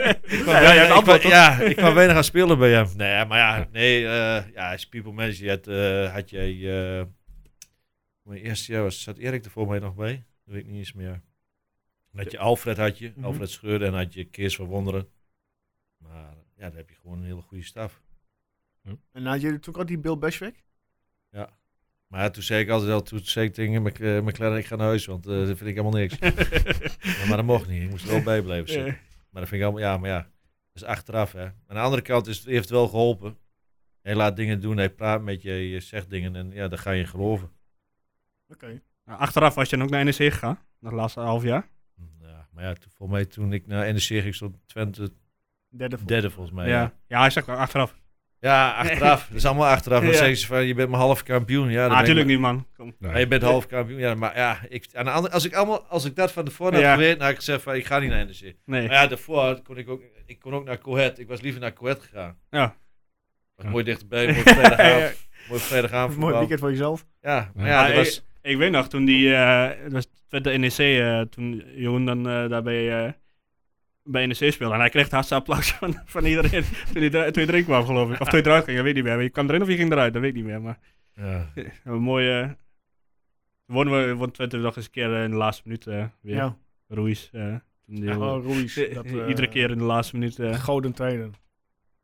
G: ik kwam
C: Ja,
G: weinig-
C: jij hebt
G: ik
C: antwoord,
G: kwam-
C: toch?
G: ja, ik kwam weinig aan spelen bij hem. Nee, maar ja, nee, eh, ja, als people manager je had, eh, had jij... eh, mijn eerste jaar was, zat Erik er voor mij nog bij. Dat weet ik niet eens meer. Dat je Alfred had je,
C: Mhm.
G: Alfred Schreuder en had je Kees van Wonderen. Maar ja, dan heb je gewoon een hele goede staf.
A: En had jullie toen ook al die Bill Bashwick?
G: Maar toen zei ik altijd al, toen zei ik tegen mijn, eh, mijn kleine, ik ga naar huis, want eh, dat vind ik helemaal niks. Ja, maar dat mocht niet, ik moest er wel bij blijven zitten. Maar dat vind ik allemaal, ja, maar ja, dat is achteraf hè. Maar aan de andere kant is, heeft het wel geholpen. Hij laat dingen doen, hij praat met je, je zegt dingen en ja, daar ga je in geloven.
A: Oké.
C: Nou, achteraf was je dan ook naar NEC gegaan, dat laatste half jaar.
G: Ja, maar ja, toen, voor mij toen ik naar NEC ging, stond Twente
A: Derde volgens
G: derde volgens mij.
C: ja. ja, hij zegt ook achteraf.
G: Ja, achteraf. Dat is allemaal achteraf. Dan
C: Ja.
G: zeggen ze van, je bent maar half kampioen. Ja, dan ben
C: ah,
G: ik
C: natuurlijk
G: maar-
C: niet, man. Kom.
B: Nee.
G: Maar je bent half kampioen. Ja, maar ja, ik, aan de andere, als, ik allemaal, als ik dat van tevoren had
C: Ja.
G: geweten, had ik gezegd van, ik ga niet naar NEC.
C: Nee.
G: Maar ja, daarvoor kon ik ook, ik kon ook naar Cohet. Ik was liever naar Cohet gegaan.
C: Ja.
G: Was mooi dichterbij, mooi vrijdagavond. Mooi vrijdagavond
A: Mooi
G: voetbal.
A: weekend voor jezelf.
G: Ja, maar
C: Ja,
G: ja, dat
C: ik-
G: was...
C: Ik weet nog, toen die, eh, het was Twente NEC, eh, toen Jeroen dan eh, daar bij, eh, bij NEC speelde. En hij kreeg het hardste applaus van, van iedereen toen hij, er- toen hij erin kwam, geloof ik. Of toen hij eruit ging, dat weet ik niet meer. Maar je kwam erin of je ging eruit, dat weet ik niet meer. Maar
G: Ja.
C: een mooie... eh, wonnen we, won Twente nog eens een keer eh, in de laatste minuut eh, weer.
A: Ja.
C: Ruiz. eh, toen die-
A: Oh, Ruiz. Dat, eh,
C: Iedere keer in de laatste minuut. eh.
A: Gouden trainer.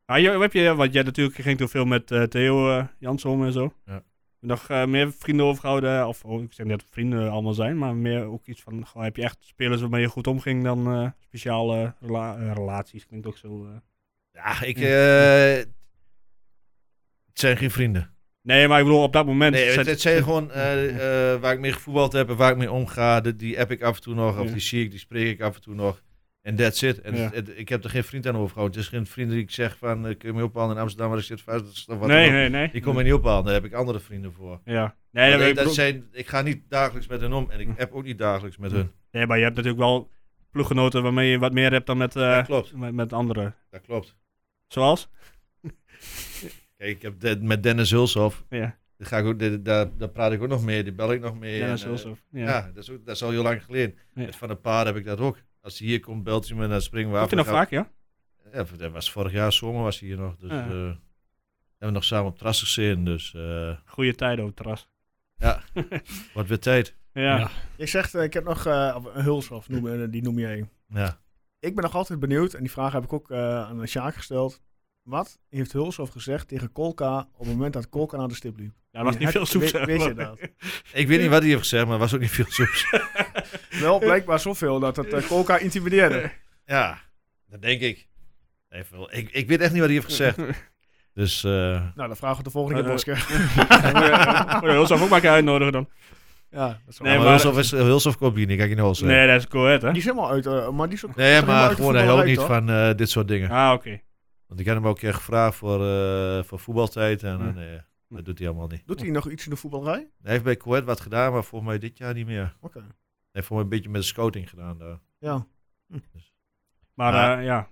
C: Ah, je, heb je, want jij natuurlijk ging toen veel met eh, Theo eh Jansson en zo.
G: Ja.
C: Nog eh, meer vrienden overgehouden, of oh, ik zeg niet dat vrienden allemaal zijn, maar meer ook iets van, goh, heb je echt spelers waarmee je goed omging dan eh, speciale rela- eh, relaties, klinkt ook zo. eh.
G: Ja, ik...
C: Ja.
G: eh, het zijn geen vrienden.
C: Nee, maar ik bedoel, op dat moment...
G: Nee, het,
C: zet-
G: het zijn gewoon eh, eh, waar ik mee gevoetbald heb en waar ik mee omga. de- Die app ik af en toe nog, of
C: Ja.
G: die zie ik, die spreek ik af en toe nog. En that's it. En
C: Ja.
G: het- het- ik heb er geen vriend aan overgehouden. Het is geen vriend die ik zeg van, eh, kun je me ophalen in Amsterdam, waar ik zit vast. Dat is toch wat
C: nee,
G: dan ook.
C: nee, nee.
G: Die komen mij niet ophalen, daar heb ik andere vrienden voor.
C: Ja. Nee, dat,
G: Want, eh,
C: ik
G: dat
C: bedoel-
G: zijn, ik ga niet dagelijks met hen om en ik app ook niet dagelijks met hun.
C: nee, maar je hebt natuurlijk wel ploeggenoten waarmee je wat meer hebt dan met, eh,
G: Dat klopt,
C: met, met anderen.
G: dat klopt.
C: Zoals?
G: Kijk, ik heb de- met Dennis Hulshoff,
C: Ja,
G: Daar, ga ik ook, daar- daar, daar praat ik ook nog mee, die bel ik nog mee.
C: ja,
G: En,
C: dat is
G: eh,
C: wel zo.
G: ja.
C: Ja. Ja.
G: dat, is ook, dat is al heel lang geleden.
C: Ja.
G: Met Van een paar heb ik dat ook. Als hij hier komt, belt hij me en dan springen we af.
C: Komt hij nog
G: Dan gaan-
C: vaak, ja?
G: Ja, dat was vorig jaar zomer was hij hier nog. Dus,
C: Ah, Ja.
G: eh, hebben we nog samen op terras gezien, dus eh
C: Goede tijden op het terras.
G: wordt weer tijd.
C: Ja.
B: Ja.
A: Je zegt, eh, ik heb nog eh, of een Hulshoff, noem, eh, die noem jij.
G: Ja.
A: Ik ben nog altijd benieuwd, en die vraag heb ik ook eh, aan Sjaak gesteld. Wat heeft Hulshoff gezegd tegen Kolka op het moment dat Kolka naar de stip liep?
C: Ja, er was niet
A: Heb-
C: veel soep,
A: weet-
C: zeg
A: weet je
C: maar.
A: dat?
G: Ik weet niet wat hij heeft gezegd, maar het was ook niet veel soeps.
A: Wel blijkbaar zoveel dat het eh, Kolka intimideerde.
G: ja, dat denk ik. Even, ik. Ik weet echt niet wat hij heeft gezegd. Dus eh,
A: Nou, dan vragen we de volgende keer,
C: Eh,
A: Boske.
C: Moet je Hulshoff ook maar een keer uitnodigen dan?
A: ja, dat is wel-
C: Nee,
G: maar
C: maar-
G: Hulshoff is- Hulshoff komt hier niet, kijk je nou al zeggen.
C: Nee, dat is Coët, hè?
A: Die is helemaal uit, eh, maar die is ook...
G: Nee,
A: helemaal uit
G: maar
A: de
G: gewoon, hij houdt niet
A: voetballerij,
G: van eh, dit soort dingen.
C: Ah, oké.
G: Want ik had hem ook een keer gevraagd voor, eh, voor voetbaltijd. En
C: Ja.
G: eh, nee, dat doet hij allemaal niet.
A: Doet hij nog iets in de voetbalrij?
G: Hij heeft bij Kuwait wat gedaan, maar volgens mij dit jaar niet meer. Hij
A: Oké,
G: heeft volgens mij een beetje met de scouting gedaan daar.
A: ja.
C: Maar
G: Ja.
C: ja, ja.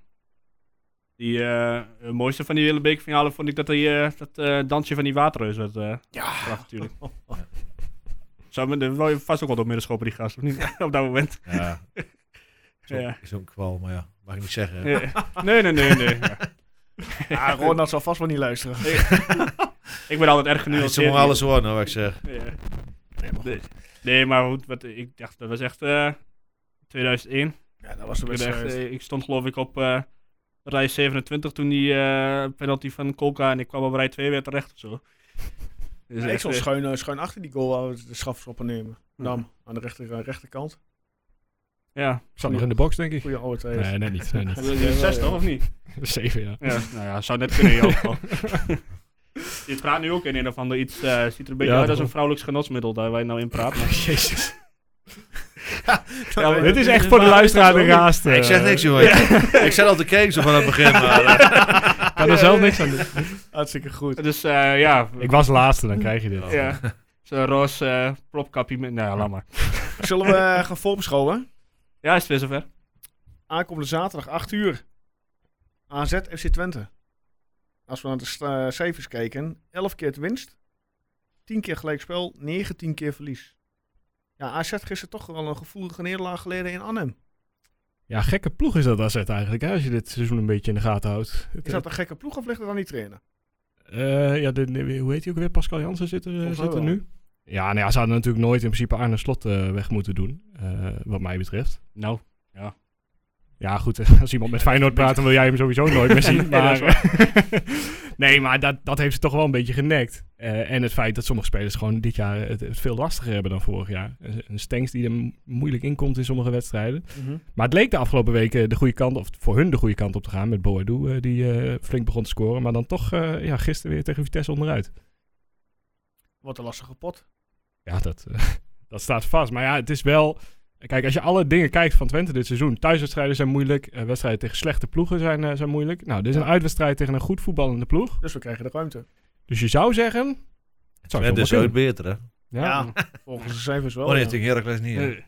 C: Die eh, het mooiste van die hele bekerfinale vond ik dat, die, eh, dat eh, dansje van die waterreus werd eh ja. natuurlijk. Zou men er wel vast ook wel door midden schoppen, die gast, of niet? Op dat moment.
G: Ja. Zo'n
C: Ja.
G: zo'n kwal, maar ja, mag ik niet zeggen. hè.
C: Nee, nee, nee, nee. Ja.
A: Ah, Ronald zal vast wel niet luisteren.
C: Ik ben altijd erg
G: Ja, het
C: genuanceerd.
G: is allemaal alles hoor, nou, wat ik zeg.
C: Ja. Nee, nee, maar goed, wat, ik dacht, dat was echt eh, 2001.
A: Ja, dat was een
C: Ik ben
A: wedstrijd.
C: echt, eh, ik stond geloof ik op eh, rij 27 toen die eh, penalty van Kolka en ik kwam op rij 2 weer terecht of zo. Dus
A: Ja, ik
C: echt,
A: stond
C: eh,
A: schuin, eh, schuin achter die goal waar we de schafschoppen nemen. Nam, aan de rechter, eh, rechterkant.
C: Ja.
B: Zat nog in de box, denk ik.
A: Goeie oude tijd.
B: Nee, net niet. Nee, niet.
C: Wil je zes toch, of niet?
B: Zeven, ja.
C: Ja, nou ja, zou net kunnen in jouw geval. Dit praat nu ook in een of ander iets, eh, ziet er een beetje
B: Ja,
C: uit als
B: toch.
C: een vrouwelijks genotsmiddel daar wij nou in praten.
B: Jezus.
C: Ja, maar
B: dit is echt voor de luisteraar de raast.
G: ik zeg niks, jongen. Ik zat al te kijken zo van het begin. Maar, eh,
B: Ik kan er zelf niks aan doen.
A: Hartstikke goed.
C: Dus eh, ja.
B: Ik was laatste, dan krijg je dit.
C: Ja. Zo'n roze eh, propkapje met... Nou ja, laat maar.
A: Zullen we eh, gaan voorbeschouwen?
C: Ja, is het weer zover.
A: Aankomende zaterdag, 8 uur. AZ FC Twente. Als we naar de sta- eh, cijfers kijken. 11 keer het winst. 10 keer gelijkspel. 19 keer verlies. Ja, AZ gisteren toch wel een gevoelige nederlaag geleden in Arnhem.
B: Ja, gekke ploeg is dat AZ eigenlijk, hè, als je dit seizoen een beetje in de gaten houdt. Het-
A: Is dat een gekke ploeg of ligt het aan die trainer?
B: eh, ja, dit, hoe heet hij ook weer? Pascal Jansen zit er, eh,
A: Volgens mij
B: zit er
A: wel.
B: nu. Ja, nou ja, ze hadden natuurlijk nooit in principe Arne Slot eh, weg moeten doen, eh, wat mij betreft.
C: Nou.
B: Ja, goed, als iemand met Feyenoord praat, dan wil jij hem sowieso nooit meer zien.
C: Nee, dat is
B: Maar, nee, maar dat, dat heeft ze toch wel een beetje genekt. Eh, en het feit dat sommige spelers gewoon dit jaar het, het veel lastiger hebben dan vorig jaar. Een een Stengs die er m- moeilijk in komt in sommige wedstrijden.
C: Mhm.
B: Maar het leek de afgelopen weken de goede kant, of voor hun de goede kant op te gaan met Boadu, eh, die eh, flink begon te scoren. Maar dan toch eh, ja, gisteren weer tegen Vitesse onderuit.
A: Wat een lastige pot.
B: Ja, dat, eh, dat staat vast. Maar ja, het is wel... Kijk, als je alle dingen kijkt van Twente dit seizoen. Thuiswedstrijden zijn moeilijk. eh, wedstrijden tegen slechte ploegen zijn, eh, zijn moeilijk. Nou, dit is een uitwedstrijd tegen een goed voetballende ploeg.
A: Dus we krijgen de ruimte.
B: Dus je zou zeggen... Het zou zomaar
G: en dat is ooit
B: kunnen.
G: beter, hè?
B: Ja.
A: Ja, volgens de cijfers wel.
G: Oh nee,
A: ja.
G: tegen Heracles niet. hè?
C: Nee.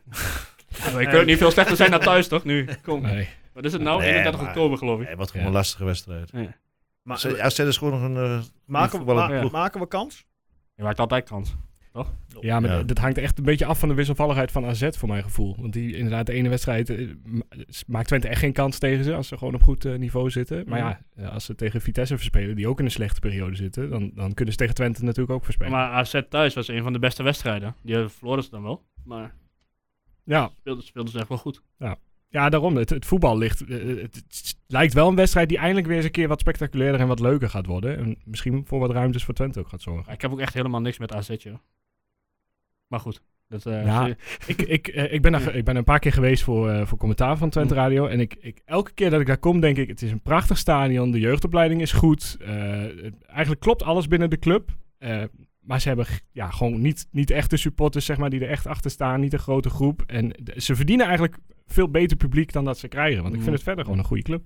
C: Ja, je kunt ook niet veel slechter zijn dan thuis, toch? Nu, kom.
B: Nee.
C: Wat is het nou?
G: Nee,
C: 31
G: maar-
C: oktober, geloof ik.
G: Nee, wat gewoon een
B: Ja.
G: lastige wedstrijd.
A: Maar, eh,
G: Ze- AZ is gewoon nog een... eh,
A: maken, we,
G: voetballen-
A: ma-
C: Ja.
A: maken we kans?
C: Je maakt altijd kans.
B: Ja, maar
G: Ja.
B: dat hangt echt een beetje af van de wisselvalligheid van AZ, voor mijn gevoel. Want die inderdaad, de ene wedstrijd eh, ma- maakt Twente echt geen kans tegen ze, als ze gewoon op goed eh, niveau zitten. Maar ja, eh, als ze tegen Vitesse verspelen, die ook in een slechte periode zitten, dan, dan kunnen ze tegen Twente natuurlijk ook verspelen.
C: Maar AZ thuis was een van de beste wedstrijden. Die verloren ze dan wel. Maar
B: ja.
C: speelden, speelden ze echt wel goed.
B: ja, daarom, het, het voetbal ligt, eh, het, het lijkt wel een wedstrijd die eindelijk weer eens een keer wat spectaculairder en wat leuker gaat worden. En misschien voor wat ruimtes voor Twente ook gaat zorgen.
C: Maar ik heb ook echt helemaal niks met AZ, joh. Maar goed. Dat, eh,
B: Ja.
C: zie-
B: ik, ik, eh, ik, ben daar, ge- ik ben er een paar keer geweest voor, eh, voor commentaar van Twente
C: Mm.
B: Radio. En ik, ik, elke keer dat ik daar kom, denk ik: het is een prachtig stadion. De jeugdopleiding is goed. eh, het- eigenlijk klopt alles binnen de club. eh, maar ze hebben g- ja, gewoon niet, niet echt de supporters zeg maar, die er echt achter staan. Niet een grote groep. En d- ze verdienen eigenlijk veel beter publiek dan dat ze krijgen. Want ik vind
C: Mm.
B: het verder gewoon een goede club.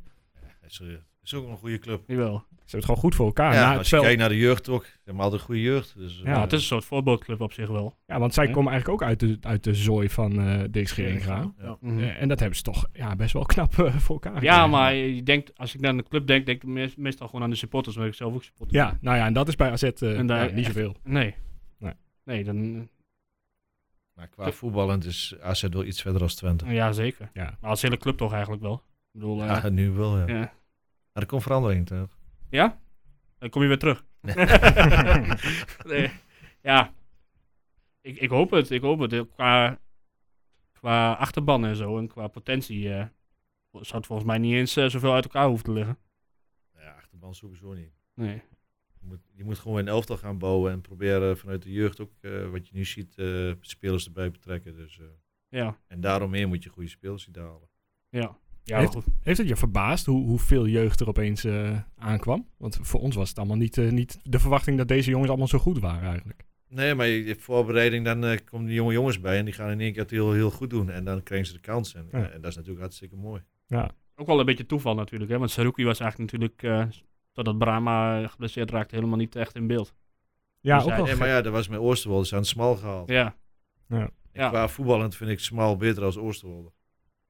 G: Is, eh, is ook een goede club.
C: Jawel.
B: Ze hebben het gewoon goed voor elkaar.
G: ja,
B: Na nou, het
G: als je
B: spel-
G: kijkt naar de jeugd ook. Ze hebben altijd goede jeugd. Dus, eh,
C: Ja, het is een soort voorbeeldclub op zich wel.
B: ja, want zij
C: Ja.
B: komen eigenlijk ook uit de, uit de zooi van eh Dirk Scheringa.
A: Ja.
C: Mhm.
B: Eh, en dat hebben ze toch ja, best wel knap eh, voor elkaar
C: Ja,
B: gekregen.
C: maar je denkt, als ik naar de club denk, denk ik meest- meestal gewoon aan de supporters, omdat ik zelf ook supporter
B: Ja, nou ja, en dat is bij AZ eh,
C: En daar
B: ja, niet
C: echt-
B: zoveel.
C: ben. Nee.
B: Nee.
C: Nee, dan...
G: Maar qua dus voetballend is AZ wel iets verder als Twente.
C: Ja, zeker.
B: Ja.
C: Maar als hele club toch eigenlijk wel. Ik bedoel, eh, ja.
G: Ja, Ah, nu wel, ja.
C: ja.
G: Maar er komt verandering, toch?
C: Dan kom je weer terug. nee. Ja. Ik, ik hoop het, ik hoop het. Eh, Qua, qua achterban en zo en qua potentie eh, zou het volgens mij niet eens eh, zoveel uit elkaar hoeven te liggen.
G: Ja, achterban sowieso niet.
C: Nee.
G: Je moet, je moet gewoon een elftal gaan bouwen en proberen vanuit de jeugd ook, eh, wat je nu ziet, eh, spelers erbij betrekken. Dus, eh,
C: Ja.
G: en daaromheen moet je goede spelers zien te halen.
C: Ja. Ja,
B: Heeft-
C: goed.
B: Heeft het je verbaasd hoe, hoeveel jeugd er opeens eh, aankwam? Want voor ons was het allemaal niet, eh, niet de verwachting dat deze jongens allemaal zo goed waren eigenlijk.
G: Nee, maar je, je voorbereiding, dan eh, komen die jonge jongens bij en die gaan in één keer het heel, heel goed doen. En dan krijgen ze de kans. En, eh,
B: Ja.
G: en dat is natuurlijk hartstikke mooi.
C: Ook wel een beetje toeval natuurlijk, hè? want Saruki was eigenlijk natuurlijk, eh totdat Brahma geblesseerd raakte, helemaal niet echt in beeld.
B: Ja,
C: Dus
B: ook
C: hij-
B: wel.
G: Nee, maar ja, dat was met Oosterwolde. Ze aan het smal gehaald.
C: Ja,
G: En
C: ja.
G: Qua voetballend vind ik smal beter als Oosterwolde.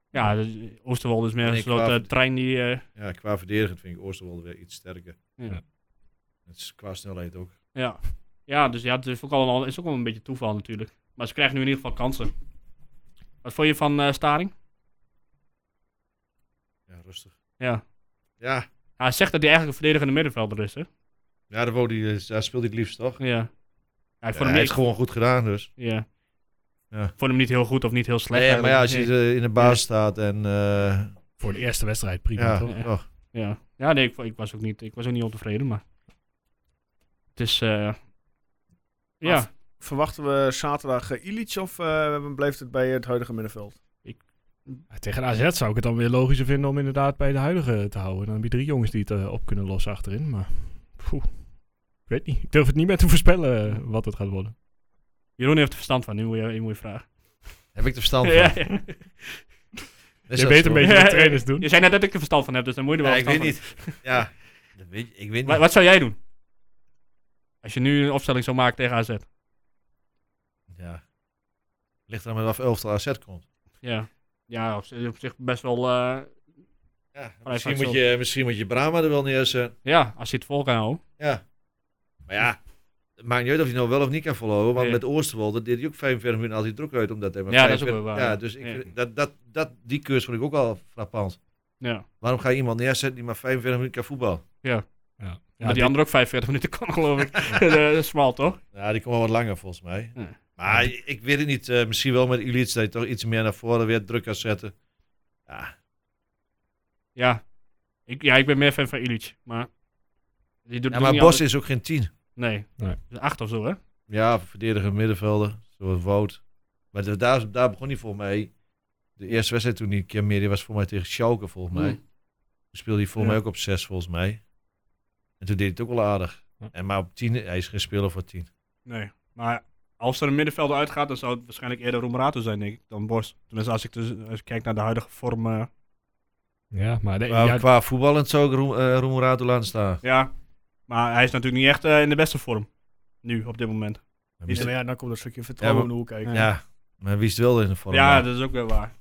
C: ja dus Oosterwolde is meer
G: Nee,
C: een soort
G: qua-
C: eh, trein die... eh,
G: Ja, qua verdedigend vind ik Oosterwolde weer iets sterker.
C: Ja.
G: Het is qua snelheid ook.
C: ja. ja, dus ja, het is ook, al, is ook wel een beetje toeval natuurlijk. Maar ze krijgen nu in ieder geval kansen. Wat vond je van eh, Staring?
G: Ja, rustig.
C: Ja.
G: Ja,
C: Hij zegt dat hij eigenlijk een verdedigende middenvelder is, hè?
G: ja eh, daar, wou die, daar speelt hij het liefst, toch?
C: Ja. Hij,
G: Ja,
C: vond
G: hij
C: hem
G: heeft
C: echt,
G: gewoon goed gedaan, dus.
C: ja.
G: Ja.
C: Vond hem niet heel goed of niet heel slecht.
G: Nee, maar ja, als je
C: eigenlijk.
G: eh, in de baas staat en... eh,
B: Voor de eerste wedstrijd, prima
G: ja,
B: toch?
G: toch.
C: Nee. Ja, ja nee, ik, ik, was ook niet, ik was ook niet ontevreden, maar... Het is... eh, ja,
A: Maar v- Verwachten we zaterdag eh, Illich of eh, blijft het bij het huidige middenveld?
B: Tegen AZ zou ik het dan weer logischer vinden om inderdaad bij de huidige te houden. Dan heb je drie jongens die het eh, op kunnen lossen achterin. Maar poeh, ik weet niet. Ik durf het niet meer te voorspellen eh, wat het gaat worden.
C: Jeroen heeft er verstand van, nu moet je, je, moet je vragen.
G: Heb ik er verstand van?
C: Ja, ja.
B: je
G: Is dat
B: weet
G: zo?
B: een beetje
C: Ja,
B: wat
C: ja.
B: trainers doen.
C: Je zei net dat ik er verstand van heb, dus dan moet je er
G: Ja,
C: wel
G: ik weet
C: verstand
G: niet. Ja, dat weet, ik weet
C: van hebben. Wa-
G: niet.
C: Wat, zou jij doen? Als je nu een opstelling zou maken tegen AZ.
G: Ja. Ligt er aan met wat voor elftal AZ komt.
C: Ja, ja op, zich- op zich best wel... eh,
G: Ja,
C: Maar
G: misschien,
C: hij
G: moet
C: gaat
G: je, misschien moet je Brahma er wel neerzetten.
C: ja, als je het vol kan houden.
G: Ja. Maar ja, het maakt niet uit of je nou wel of niet kan volhouden. Want
C: Nee.
G: met Oosterwolde deed hij ook 45 minuten altijd druk uit. Omdat hij maar
C: Ja, dat is
G: 45
C: ook wel waar,
G: Ja,
C: ja.
G: dus ik,
C: Ja.
G: vind- Dat, dat, dat, die keurs vond ik ook al frappant.
C: Ja.
G: Waarom ga je iemand neerzetten die maar 45 minuten kan voetballen?
B: Ja. Ja,
C: Maar die
B: dit-
C: andere ook 45 minuten kan, geloof ik. Eh, dat is smal, toch?
G: Ja, die komt wel wat langer volgens mij.
C: Ja.
G: Maar ik- ik weet het niet. eh, misschien wel met Ilits dat je toch iets meer naar voren weer druk kan zetten. Ja,
C: Ja. Ik, ja, ik ben meer fan van Illich, maar... Die doet
G: ja
C: doet
G: maar
C: niet
G: Bos
C: altijd-
G: is ook geen 10.
C: Nee.
B: Nee.
C: Dus Acht of zo, hè?
G: Ja, verdediger middenvelder, zoals Wout. Maar de- daar, daar begon hij voor mij. De eerste wedstrijd toen hij een keer meer die was voor mij tegen Schalke, volgens mij. Toen speelde hij voor mij ook op 6, volgens mij. En toen deed hij het ook wel aardig.
B: Ja.
G: En maar op 10, hij is geen speler voor 10.
C: Nee. Maar als er een middenvelder uitgaat, dan zou het waarschijnlijk eerder Romerato zijn, denk ik, dan Bos. Tenminste, als ik, dus, als ik kijk naar de huidige vorm. eh,
B: ja, maar de-
G: Maar
B: ja,
G: qua voetballend zou ik Roem- eh, Roemerato laten staan.
C: ja. Maar hij is natuurlijk niet echt eh, in de beste vorm. Nu, op dit moment.
G: Wie
A: Ja,
G: is-
A: maar ja, dan komt dat stukje vertrouwen
G: Ja,
A: in de hoek kijken.
G: Ja, maar wie is het wel in de vorm?
C: ja,
G: Ja,
C: dat is ook weer waar.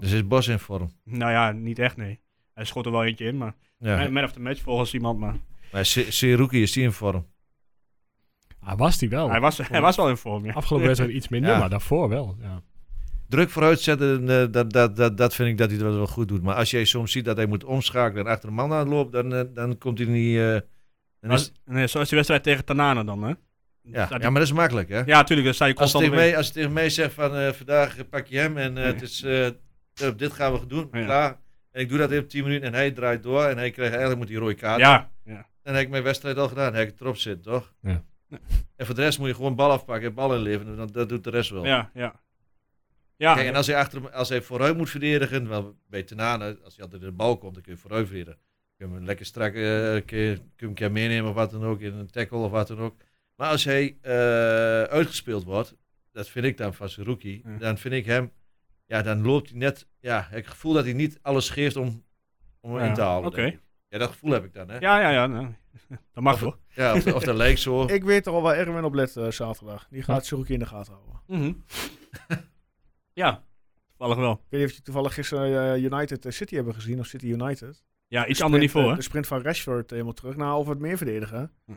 G: Dus is Bos in vorm.
C: Nou ja, niet echt, nee. Hij schot er wel eentje in, maar.
G: Ja.
C: Man- Man of the match volgens iemand, maar.
G: Maar Se- Seruki is die in vorm.
B: hij Ah, was die wel.
C: Hij, was, hij was wel in vorm, ja.
B: Oh. Afgelopen wedstrijd iets minder,
G: Ja.
B: maar daarvoor wel. Ja.
G: Druk vooruit zetten, eh, dat, dat, dat, dat vind ik dat hij dat wel goed doet. Maar als jij soms ziet dat hij moet omschakelen en achter een man aanloopt, dan, eh, dan komt hij niet... eh, dan is-
C: Als, nee, zoals die wedstrijd tegen Tanana dan, hè?
G: ja,
C: Staat
G: ja,
C: die-
G: maar dat is makkelijk, hè?
C: ja, tuurlijk, dan sta je
G: als, het
C: constant
G: tegen
C: op één.
G: mij, als het tegen mij zegt van eh, vandaag pak je hem en eh, het is, eh, eh, dit gaan we doen,
C: Ja.
G: klaar. En ik doe dat even 10 minuten en hij draait door en hij krijgt eigenlijk moet die rode kaart.
C: Ja, ja.
G: Dan heb ik mijn wedstrijd al gedaan, dan heb ik het erop zitten, toch?
B: Ja.
G: En voor de rest moet je gewoon bal afpakken en bal inleveren, want dat doet de rest wel.
C: Ja, ja. Ja,
G: Kijk, en als hij, achter, hem- als hij vooruit moet verdedigen, wel bij Tenane, als hij altijd in de bal komt, dan kun je vooruit verdedigen. Kun je hem lekker strak, eh, kun, je, kun je hem een keer meenemen of wat dan ook, in een tackle of wat dan ook. Maar als hij eh, uitgespeeld wordt, dat vind ik dan van zijn rookie,
C: Ja.
G: dan vind ik hem, ja, dan loopt hij net, ja, ik heb het gevoel dat hij niet alles geeft om, om hem
C: Ja,
G: in te halen.
C: oké.
G: denk ik. Ja, dat gevoel heb ik dan, hè.
C: ja,
G: Ja,
C: ja, ja. nou, Dat mag wel.
G: of, of dat lijkt zo.
A: Ik weet er al waar Erwin op let eh, zaterdag. Die gaat Suruki in de gaten houden.
C: Mhm. ja, toevallig wel.
A: Ik weet niet of je toevallig gisteren eh, United eh, City hebben gezien, of City United.
C: Ja, iets ander niveau,
A: eh,
C: hè?
A: De sprint van Rashford helemaal terug. Nou, over het meer verdedigen.
C: Hm.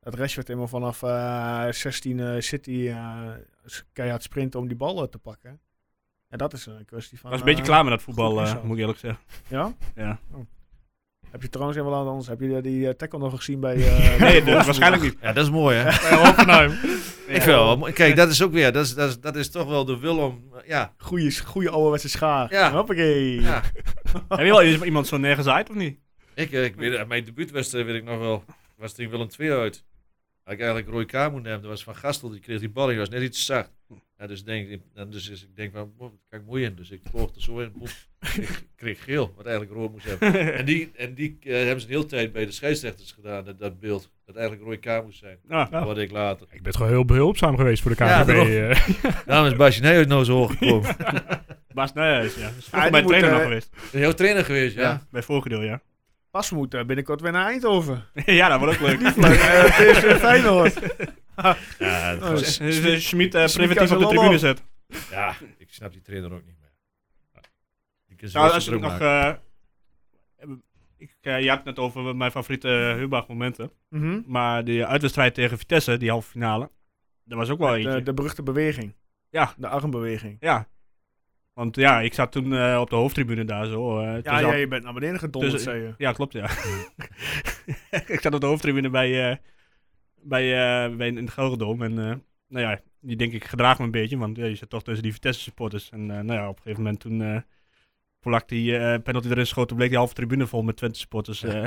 A: Dat Rashford helemaal vanaf eh, 16 eh, City eh, s- keihard sprinten om die ballen te pakken. En dat is een kwestie van...
C: Ik was een beetje
A: eh,
C: klaar met dat voetbal,
A: goed
C: eh,
A: inschat.
C: moet ik eerlijk zeggen.
A: Ja? Oh.
C: Ja.
A: Heb je trouwens helemaal wat anders? Heb je die, die eh, tackle nog gezien bij... eh,
C: Nee,
A: bij
C: dat- waarschijnlijk niet.
G: Ja, dat is mooi, hè. Ik vind wel mooi. Kijk, dat is ook weer, dat is, dat is, dat is toch wel de wil om, ja,
A: Goeie, goeie ouderwetse schaar.
G: Ja.
A: Hoppakee.
G: ja.
C: Heb je wel eens iemand zo nergens uit, of niet?
G: Ik, eh, ik weet, uit mijn debuutwedstrijd weet ik nog wel. Was tegen Willem II uit. Had ik eigenlijk Roy K moeten nemen. Dat was Van Gastel. Die kreeg die bal. en Die was net iets te zacht. Ja, dus, denk, ik- en dus is- ik denk van, wow, daar kan ik mooi in. Dus ik volgde zo in. Boem. Ik kreeg geel. Wat eigenlijk rood moest hebben. En die, en die eh, hebben ze een hele tijd bij de scheidsrechters gedaan. Dat, dat beeld. Dat eigenlijk Roy K moest zijn.
C: Ja.
G: Dat hoorde ik later.
B: Ik ben gewoon heel behulpzaam geweest voor de
G: Ja,
B: KNVB.
G: daarom.
B: eh.
G: Daarom is Basje Nijhuis nou zo hoog gekomen.
C: Bas Nijhuis, ja. Dat is vroeger
A: die
C: bij
A: moet,
C: de trainer
A: eh,
C: nog geweest.
G: Heel trainer geweest, ja.
C: Bij voorgedeel, ja.
A: Pas moet eh, binnenkort weer naar Eindhoven.
C: ja, dat wordt ook leuk.
A: Eh, PSV Feyenoord.
G: Ja, dat
C: Dus,
G: was-
C: eh, Schmid eh, preventief op de
A: Casalolo.
C: tribune zet.
G: ja, ik snap die trainer ook niet meer. Die kan ze
C: Nou,
G: wel
C: als
G: zo
C: ik
G: druk
C: nog...
G: maken.
C: eh, ik, eh, je had het net over mijn favoriete uh, momenten.
A: Mhm.
C: Maar die uitwedstrijd tegen Vitesse, die halve finale, dat was ook wel eentje.
A: De, de beruchte beweging.
C: Ja.
A: eh, De armbeweging.
C: Ja. Want ja, ik zat toen eh, op de hoofdtribune daar zo. eh,
A: Ja,
C: tussen
A: ja,
C: al-
A: je bent naar beneden gedonderd,
C: dus-
A: zei je.
C: Ja, klopt, ja. ik zat op de hoofdtribune bij, eh bij, eh bij in het Gelredome. En eh, nou ja, die denk ik gedraag me een beetje, want ja, je zit toch tussen die Vitesse supporters. En eh, nou ja, op een gegeven moment toen eh, Polak die eh penalty erin schoten, bleek die halve tribune vol met Twente supporters eh,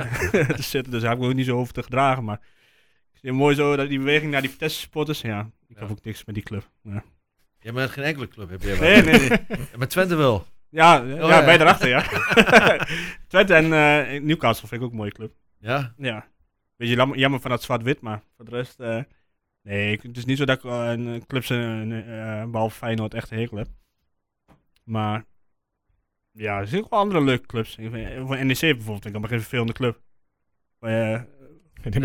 C: te zitten. Dus daar heb ik me ook niet zo over te gedragen, maar ik zie mooi zo dat die beweging naar die Vitesse supporters, ja, ik heb ook niks met die club. Ja.
G: Ja, maar geen enkele club heb jij wel.
C: Nee, nee, nee.
G: Ja, maar Twente wel.
C: Ja,
G: Oh,
C: ja,
G: ja.
C: beide erachter, ja. Twente en eh, Newcastle vind ik ook een mooie club.
G: Ja?
C: Ja. Beetje lam- jammer van dat zwart-wit, maar voor de rest... eh, nee, ik- het is niet zo dat ik eh, een een clubs, een, eh, behalve Feyenoord, echt een hekel heb. Maar... Ja, er zijn ook wel andere leuke clubs. Ik vind, eh, voor NEC bijvoorbeeld vind ik allemaal geen vervelende club. Maar, eh,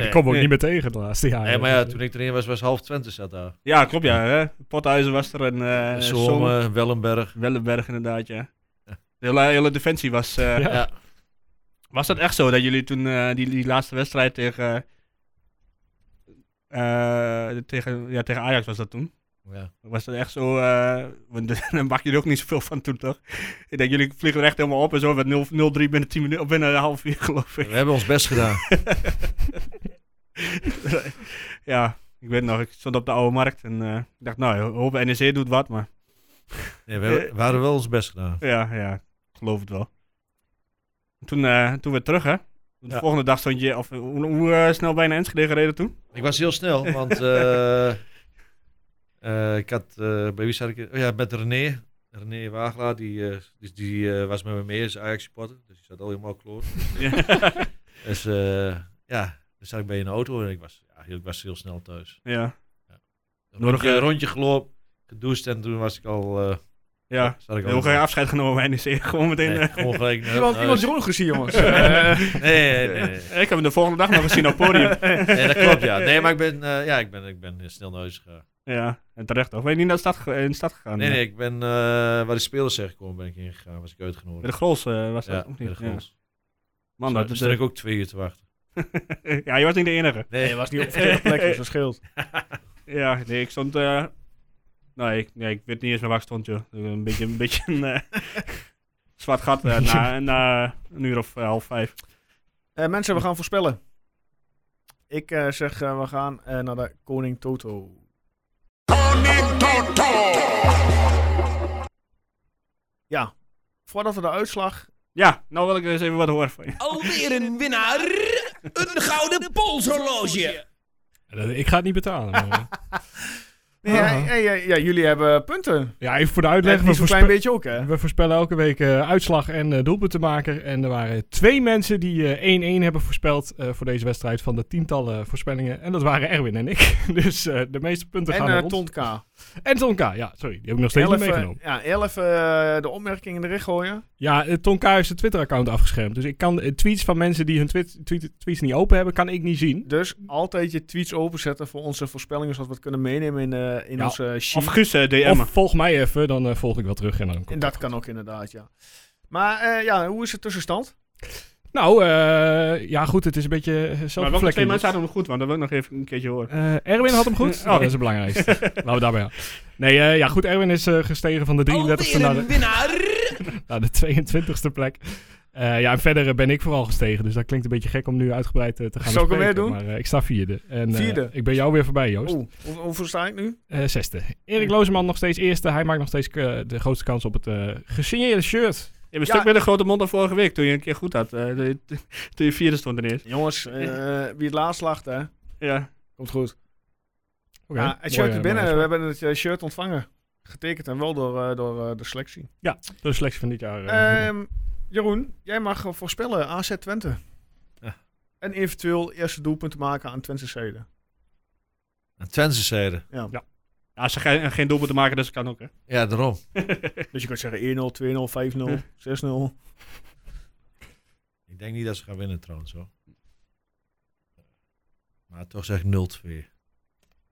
B: Ik kom ook niet meer tegen de laatste jaren.
G: Nee, maar ja, toen ik erin was, was half Twente zat daar.
C: Ja, klopt ja. Hè? Pothuizen was er en... eh
G: Zomer, Wellenberg.
C: Wellenberg inderdaad, ja. De hele, hele defensie was... eh,
G: Ja.
C: Was dat echt zo dat jullie toen eh, die, die laatste wedstrijd tegen, eh, eh, tegen, ja, tegen Ajax was dat toen?
G: Ja.
C: Was dat echt zo? eh, want daar maak je er ook niet zoveel van toen, toch? Ik denk, jullie vliegen er echt helemaal op en zo met 0 0-3 binnen 10 minuten, of binnen een half uur, geloof ik.
G: We hebben ons best gedaan.
C: ja, ik weet nog, ik stond op de oude markt en eh, ik dacht, nou, ho- hopen NEC doet wat, maar.
G: Nee, we hebben- we hadden wel ons best gedaan.
C: Ja, ja, ik geloof het wel. Toen, eh, toen weer terug, hè? De
G: Ja.
C: volgende dag stond je, of eh, hoe, hoe eh, snel bijna Enschede gereden toen?
G: Ik was heel snel, want eh, eh, ik had, eh, bij wie zat ik? Oh ja, met René. René Wagelaar, die, eh, die, die eh, was met me mee, is Ajax supporter, dus die zat al helemaal kloot.
C: Ja.
G: dus eh, ja, dan zat ik bij een auto en ik was, ja, heel, ik was heel snel thuis.
C: Ja.
G: Een
C: Nog
G: rondje,
C: een-
G: rondje gelopen, gedoucht en toen was ik al... eh,
C: Ja,
G: zat ik
C: heel geen afscheid genomen bij NEC. Gewoon meteen...
G: Nee,
C: eh.
G: gewoon gelijk naar
A: Iemand,
G: huis.
A: iemand Jeroen gezien, jongens. Eh,
G: Nee, nee, nee, nee.
C: Ik heb hem de volgende dag nog gezien op het podium.
G: Nee, dat klopt, eh, ja. Nee, maar ik ben, eh, ja, ik ben, ik ben eh, snel naar huis gegaan.
C: Ja, en terecht toch? Ben je niet naar de stad, ge- in de stad gegaan?
G: Nee, nee, ik ben eh, waar de spelers zijn gekomen, ben ik ingegaan, was ik uitgenodigd.
C: Bij de Grols eh, was
G: Ja,
C: dat ook
G: bij de
C: niet.
G: dus
C: Ja.
G: Grols.
C: Man, dat is...
G: zat ik ook twee uur te wachten.
C: ja, je was niet de enige.
A: Nee, je was niet op verkeerde plek, dus dat scheelt.
C: Ja, nee, ik stond... eh, nee, ik, nee, ik weet niet eens meer waar ik stond, joh. Een beetje een, beetje een eh, zwart gat eh, na, na een uur of eh, half vijf.
A: Eh, mensen, we gaan voorspellen. Ik eh, zeg, eh, we gaan eh, naar de Koning Toto.
H: Koning Toto.
A: Ja, voordat we de uitslag...
C: Ja, nou wil ik eens even wat horen van je.
L: Alweer een winnaar. Een gouden polshorloge.
B: Dat- eh, Ik ga het niet betalen. maar- eh.
A: Nee, ja, ja, ja, ja, jullie hebben punten.
B: Ja, even voor de uitleg.
A: Net niet
B: we
A: zo'n klein
B: voorspe-
A: beetje ook, hè?
B: We voorspellen elke week eh, uitslag en eh, doelpuntenmaker. En er waren twee mensen die eh, 1-1 hebben voorspeld eh, voor deze wedstrijd van de tientallen eh, voorspellingen. En dat waren Erwin en ik. Dus eh, de meeste punten
A: En
B: gaan naar
A: eh
B: ons.
A: Ton K.
B: En Tonka, ja, sorry. Die heb ik nog steeds
A: Heel
B: niet
A: even-
B: meegenomen.
A: Ja, heel even eh, de opmerkingen erin gooien.
B: Ja, eh, Tonka heeft zijn Twitter-account afgeschermd. Dus ik kan eh, tweets van mensen die hun twit- tweet- tweets niet open hebben, kan ik niet zien.
A: Dus altijd je tweets openzetten voor onze voorspellingen, zodat we het kunnen meenemen in, eh, in
B: Ja,
A: onze
C: Of
A: sheet.
C: Guus eh, DM'en.
B: Of volg mij even, dan eh, volg ik wel terug. En dan
A: En
B: komt
A: dat kan ook inderdaad, ja. Maar eh, ja, hoe is de tussenstand?
B: Nou, eh, ja goed, het is een beetje eh,
C: maar
B: zelfreflectie.
C: welke twee mensen hadden hem goed, want dat wil ik nog even een keertje horen.
B: Eh, Erwin had hem goed.
C: Oh.
B: dat is het belangrijkste. Laten we daarbij houden. Nee, eh, ja, goed. Erwin is eh, gestegen van de 33ste
L: Alweer
B: naar
L: een
B: de,
L: winnaar.
B: naar de 22ste plek. Eh, ja, en verder eh, ben ik vooral gestegen. Dus dat klinkt een beetje gek om nu uitgebreid eh, te gaan
A: Zal ik hem
B: bespreken,
A: weer doen?
B: Maar eh, ik sta vierde. En, eh,
A: Vierde? Oh.
B: ik ben jou weer voorbij, Joost.
A: Oeh, hoe, hoeveel sta ik nu?
B: Eh, zesde. Erik Lozeman nog steeds eerste. Hij maakt nog steeds eh, de grootste kans op het eh, gesigneerde shirt.
C: Je hebt een
A: Ja.
C: stuk met een grote mond dan vorige week, toen je een keer goed had. eh, toen je- toen je vierde stond ineens.
A: Jongens, eh, wie het laatst lacht, hè?
C: Ja.
A: Komt goed.
B: Oké,
A: ja, het shirt
B: mooi,
A: is
B: eh,
A: binnen.
B: mooi.
A: We hebben het eh, shirt ontvangen. Getekend en wel door, eh, door eh, de selectie.
B: De selectie van dit jaar. eh,
A: Ehm, Jeroen, jij mag eh, voorspellen AZ Twente.
G: Ja.
A: En eventueel eerste doelpunt maken aan Twente Zeden.
G: En Twente zeiden.
A: Ja.
B: Ja.
C: Ja, ze geen, geen doelpunt te maken, dus dat kan ook, hè?
G: Ja, daarom.
A: Dus je kunt zeggen 1-0, 2-0, 5-0, 6-0.
G: Ik denk niet dat ze gaan winnen trouwens hoor. Maar toch zeg ik 0-2.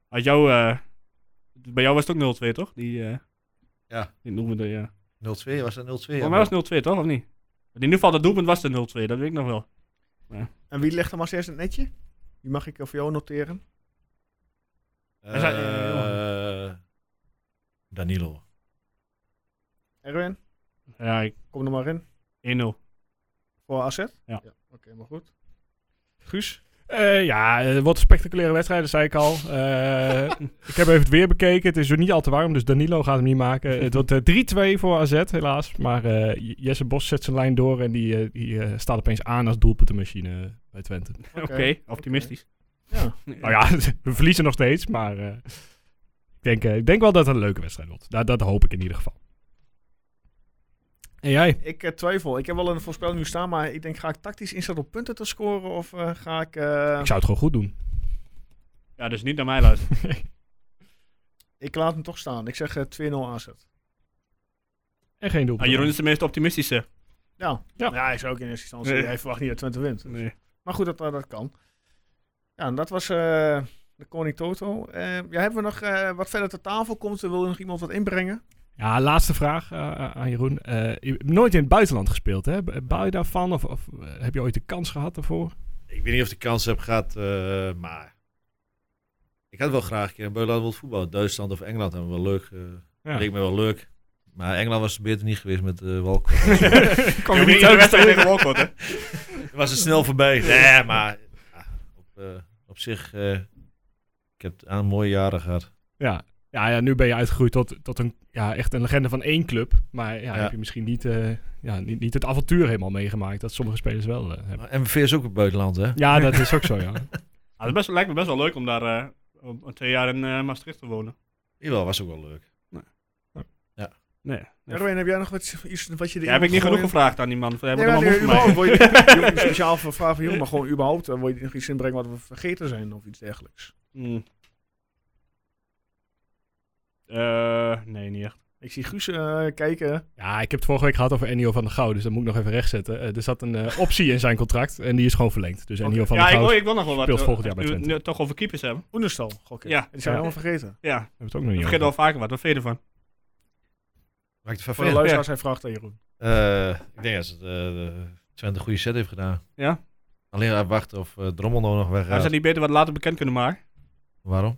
C: Had jou, eh, bij jou was het ook 0-2, toch? Die, eh,
G: Ja.
C: Die doelpunten, ja.
G: 0-2? Was dat 0-2?
C: Voor mij was het 0-2, toch? Of niet? Want in ieder geval, dat doelpunt was de 0-2, dat weet ik nog wel.
A: En wie legt hem als eerste in het netje? Die mag ik eh, voor jou noteren.
G: Eh,
C: Hij zei-
G: Danilo.
A: Erwin,
C: Ja, ik-
A: kom er maar in.
C: 1-0.
A: Voor AZ?
C: Ja.
A: Oké, maar goed. Guus?
B: Eh, ja, eh, wat een spectaculaire wedstrijd, dat zei ik al. Eh, ik heb even het weer bekeken. Het is er niet al te warm, dus Danilo gaat hem niet maken. Het wordt eh, 3-2 voor AZ, helaas. Maar eh, J- Jesse Bos zet zijn lijn door en die, eh, die eh, staat opeens aan als doelpuntenmachine eh, bij Twente.
C: Oké, optimistisch.
A: Ja.
B: Nou ja, we verliezen nog steeds, maar eh, ik, denk, eh, ik denk wel dat het een leuke wedstrijd wordt. Dat, dat hoop ik in ieder geval. En jij?
A: Ik eh, twijfel. Ik heb wel een voorspelling nu staan, maar ik denk, ga ik tactisch inzetten op punten te scoren of eh, ga ik... eh,
B: Ik zou het gewoon goed doen.
C: Ja, dus niet naar mij luisteren.
A: Ik laat hem toch staan. Ik zeg eh, 2-0 aanzet.
B: En geen doelpunt.
C: Ah, Jeroen is de meest optimistische.
A: Ja.
B: Ja.
A: ja, hij is ook in eerste instantie.
C: Nee.
A: Hij verwacht niet dat Twente wint. Dus.
C: Nee.
A: Maar goed, dat, dat dat kan. Ja, en dat was eh, de Koning Toto. Eh, ja, hebben we nog eh, wat verder ter tafel komt? Wil er nog iemand wat inbrengen?
B: Ja, laatste vraag eh, a- aan Jeroen. Eh, je hebt nooit in het buitenland gespeeld, hè? B- Bouw je daarvan? Of, of eh, heb je ooit de kans gehad daarvoor?
G: Ik weet niet of ik de kans heb gehad, eh, maar ik had wel graag een keer in buitenland wild voetbal. Duitsland of Engeland hebben we wel leuk. eh
B: Ja.
G: Leek me wel leuk. Maar Engeland was beter niet geweest met eh Walcott.
B: Kom je niet iedere uit. wedstrijd tegen Walcott, hè?
G: was het snel voorbij. Nee, maar ja, op, eh, op zich, eh, ik heb aan mooie jaren gehad.
B: Ja. Ja, ja, nu ben je uitgegroeid tot, tot een, ja, echt een legende van één club. Maar ja,
G: Ja.
B: heb je misschien niet, eh, ja, niet, niet het avontuur helemaal meegemaakt dat sommige spelers wel eh, hebben.
G: Maar MVV is ook het buitenland, hè?
B: Ja, dat is ook zo, ja.
C: Ah, het best, lijkt me best wel leuk om daar eh, om twee jaar in eh, Maastricht te wonen.
G: Jawel, was ook wel leuk.
C: Nee. nee.
A: Erwin, heb jij nog wat, iets wat je erin
C: Ja, heb ik
A: wil
C: niet genoeg
A: gooien?
C: gevraagd aan die man. Hij
A: Nee,
C: wordt
A: maar
C: allemaal goed
A: überhaupt, wil
C: voor mij.
A: je, wil je speciaal voor vragen van Jeroen, maar gewoon überhaupt. eh, Wil je nog iets inbrengen wat we vergeten zijn of iets dergelijks?
C: Hmm. Eh, nee, niet echt.
A: Ik zie Guus eh, kijken.
B: Ja, ik heb het vorige week gehad over Ennio van der Gouw, dus dat moet ik nog even rechtzetten. Eh, er zat een eh, optie in zijn contract en die is gewoon verlengd. Dus Ennio van
C: ja,
B: der
C: ik
B: Gouw
C: wil, ik wil nog wel wat.
B: speelt
C: eh,
B: volgend jaar bij
C: als we het
B: Twente.
C: nu toch over keepers hebben.
A: Oenerstal, gok ik.
C: Ja.
A: Die zijn
B: Ja.
A: helemaal vergeten.
C: Ja,
B: Hebben we het ook nog
C: ik
B: niet
C: vergeet
B: over.
C: al vaker wat. Wat vind je ervan?
G: Maakt het van
A: Voor de
G: verder.
A: luisteraars, hij vraagt aan Jeroen.
G: Eh, ik denk dat ze het, eh, Twente een goede set heeft gedaan.
C: Ja?
G: Alleen aan wachten of eh, Drommel nog
C: Hij
G: weggaat.
C: zou niet beter wat later bekend kunnen maken.
G: Waarom?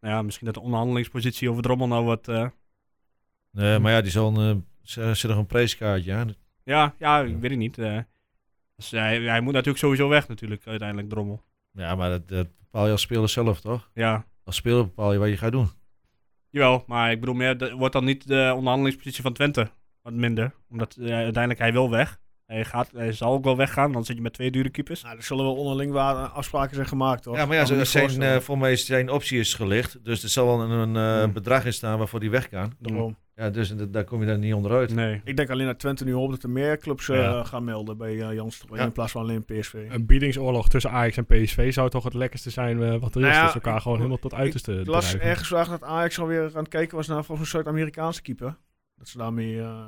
C: Nou ja, misschien dat de onderhandelingspositie over Drommel nou wat... eh,
G: Nee, maar ja, die zal een, eh, zit nog een prijskaartje aan.
C: ja, ja, ik weet het niet. eh. dus hij, hij moet natuurlijk sowieso weg natuurlijk, uiteindelijk Drommel.
G: Ja, maar dat, dat bepaal je als speler zelf, toch?
C: Ja,
G: Als speler bepaal je wat je gaat doen.
C: jawel. Maar ik bedoel meer, de- wordt dan niet de onderhandelingspositie van Twente wat minder? Omdat eh, uiteindelijk hij wil weg. Hij, gaat, hij zal ook wel weggaan, dan zit je met twee dure keepers.
A: Nou, er zullen wel onderling waar eh, afspraken zijn gemaakt, toch?
G: Ja, maar ja,
A: Kan me
G: zo-
A: niet
G: zijn,
A: voorstellen.
G: eh, voor mij is zijn optie is gelicht. Dus er zal wel een, eh,
C: Hmm.
G: bedrag in staan waarvoor die weg kan.
A: Daarom.
G: Ja, dus dat- daar kom je dan niet onderuit.
C: Nee.
A: Mm. Ik denk alleen dat Twente nu hoopt dat er meer clubs eh,
G: Ja.
A: gaan melden bij eh Jans Strooij
G: Ja.
A: in plaats van alleen
C: Eh,
A: PSV.
B: Een biedingsoorlog tussen Ajax en PSV zou toch het lekkerste zijn eh, wat er
A: Nou
B: is.
A: ja,
B: dus elkaar gewoon
A: ik-
B: helemaal tot uiterste
A: Ik las
B: drijven.
A: ergens vandaag dat Ajax alweer aan het kijken was naar volgens een Zuid-Amerikaanse keeper. Dat ze daarmee eh,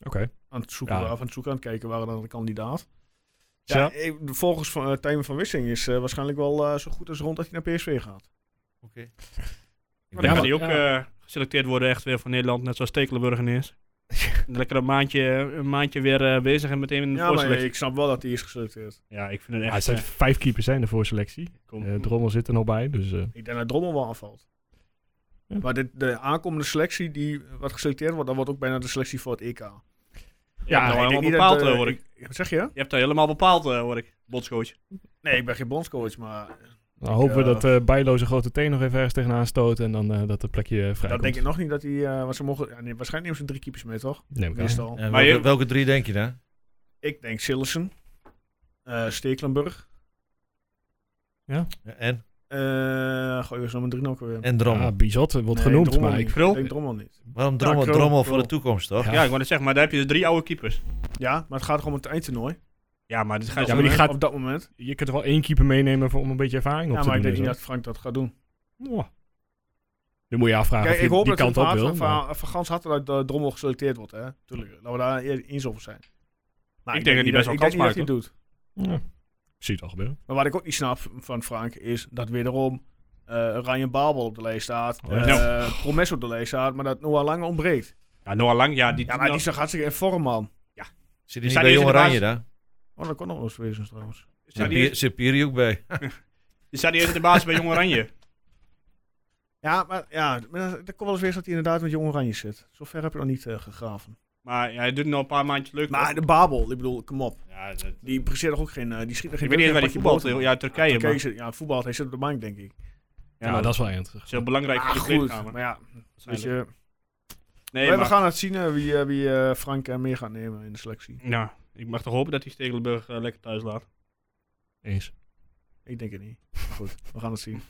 B: Oké.
A: aan het zoeken,
B: Ja.
A: waren- of aan het zoeken aan het kijken waren naar de kandidaat.
B: Ja.
A: Ja, ik- volgens van, eh, Tijmen van Wissing is eh, waarschijnlijk wel eh, zo goed als rond dat hij naar PSV gaat.
G: Oké. Ik
C: Maar
G: ben-
C: dan
B: Ja,
C: kan die ook
B: ja.
C: eh, geselecteerd worden echt weer voor Nederland, net zoals Stekelenburg ineens. Lekker een maandje, een maandje weer eh, bezig en meteen in de
A: Ja, maar
C: voorselectie.
A: ik snap wel dat hij is geselecteerd.
C: Ja, ik vind het
B: Ja, het
C: echt...
B: zijn
C: eh,
B: vijf keepers hè, in de voorselectie.
C: kom.
B: Eh, Drommel zit er nog bij, dus... eh,
A: Ik denk dat Drommel wel aanvalt.
B: Ja.
A: Maar dit, de aankomende selectie die wat geselecteerd wordt, dat wordt ook bijna de selectie voor het EK. Ja,
C: ja,
A: ik denk
C: helemaal
A: niet
C: bepaald
A: dat, eh,
C: eh, hoor ik.
A: Wat zeg je?
C: Je hebt daar helemaal bepaald eh, hoor ik, bondscoach.
A: Nee, ik ben geen bondscoach, maar eh,
B: nou, hopen we
A: Ja.
B: dat eh Bijlo zijn grote teen nog even ergens tegenaan stoot en dan eh, dat het plekje eh, vrij
A: dat
B: komt.
A: denk ik nog niet dat hij... eh, want ze mogen, ja, nee, waarschijnlijk nemen ze drie keepers mee, toch?
B: Neem ik aan.
A: Meestal.
G: En
C: Maar
G: welke,
C: je-
G: welke drie denk je dan?
A: Ik denk Sillessen, eh, Stekelenburg.
G: Ja, En,
A: eh gooi eens nummer drie nog weer.
G: en Drommel.
B: Ja, Bizot eh, wordt
A: Nee,
B: genoemd,
A: Drommel
B: maar
A: niet.
B: ik...
A: Ik denk Drommel niet.
G: Waarom Drommel?
A: Krul.
G: Drommel voor
A: Krul.
G: de toekomst, toch?
C: Ja,
B: Ja.
C: ik wou net zeggen, maar daar heb je dus drie oude keepers.
A: Ja, maar het gaat gewoon om het eindtoernooi.
C: Ja, maar dit gaat
B: Ja, maar die
A: Op-
B: gaat-
A: Op dat moment.
B: Je kunt er wel één keeper meenemen voor, om een beetje ervaring op
A: Ja,
B: te
A: maar ik
B: doen.
A: denk niet
B: en
A: dat Frank dat gaat doen.
B: zo. Mwah. Nu moet je
C: Ah,
B: afvragen
A: Kijk,
B: of je
A: ik hoop
B: die
A: dat
B: kant
A: het
B: op
A: van,
B: wil.
A: van,
B: maar-
A: van, van Gans hard dat eh, Drommel geselecteerd wordt, hè. Tuurlijk, laten we daar eer- eens over zijn. Maar
C: Ik denk dat hij best wel
A: ik
C: kans
A: denk niet dat
C: maakt,
A: hij het doet.
B: Ja. Ik Zie het al gebeuren.
A: Maar wat ik ook niet snap van Frank is dat wederom eh Ryan Babel op de lijst staat,
B: Oh, ja.
A: eh
C: Nou.
A: Promes op de lijst staat, maar dat Noah Lange ontbreekt.
C: Ja, Noah Lang, ja, die,
A: Ja, maar die is toch hartstikke in vorm, man.
C: Die
G: Zit hij niet
C: staat
G: bij
C: niet
G: Jong
C: eens in de
G: Oranje dan?
A: Oh, dat kon nog wel eens wezen, trouwens.
C: staat
G: Zit
C: die
G: Pier- Zit Piri ook bij?
C: die staat niet eens in de basis bij Jong Oranje.
A: Ja, maar ja, maar dat dat kon wel eens wezen dat hij inderdaad met Jong Oranje zit. Zover heb je nog niet eh, gegraven.
C: Maar ja, hij doet nog een paar maandjes leuk.
A: Maar
C: hoor.
A: de Babel, ik bedoel, kom op.
C: Ja, dat-
A: Die presteert toch ook geen... eh, die schiet er geen
C: Ik weet niet
A: druk
C: waar die
A: in,
C: voetbalt.
A: pakje boter.
C: Ja, Turkije, maar-
A: zit- ja, voetbal, hij zit op de bank, denk ik.
C: Ja, maar dat is wel
B: interessant.
C: Dat is heel belangrijk voor
A: Ah,
C: de
A: goed,
C: kleedkamer.
A: maar ja, weet je...
C: Waarschijnlijk. Nee,
A: Maar we
C: maar-
A: gaan het zien eh, wie, eh, wie eh, Frank eh, mee gaat nemen in de selectie.
C: Ja, ik mag toch hopen dat hij Stegelenburg eh, lekker thuis laat.
B: Eens.
A: Ik denk het niet. Maar goed, we gaan het zien.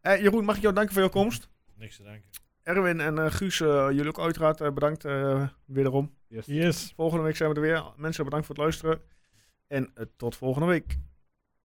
A: Eh, Jeroen, mag ik jou danken voor jouw komst?
G: Niks te danken.
A: Erwin en eh, Guus, eh, jullie ook uiteraard eh, bedankt eh, wederom.
C: Yes.
B: Yes.
A: Volgende week zijn we er weer. Mensen, bedankt voor het luisteren. En eh, tot volgende week.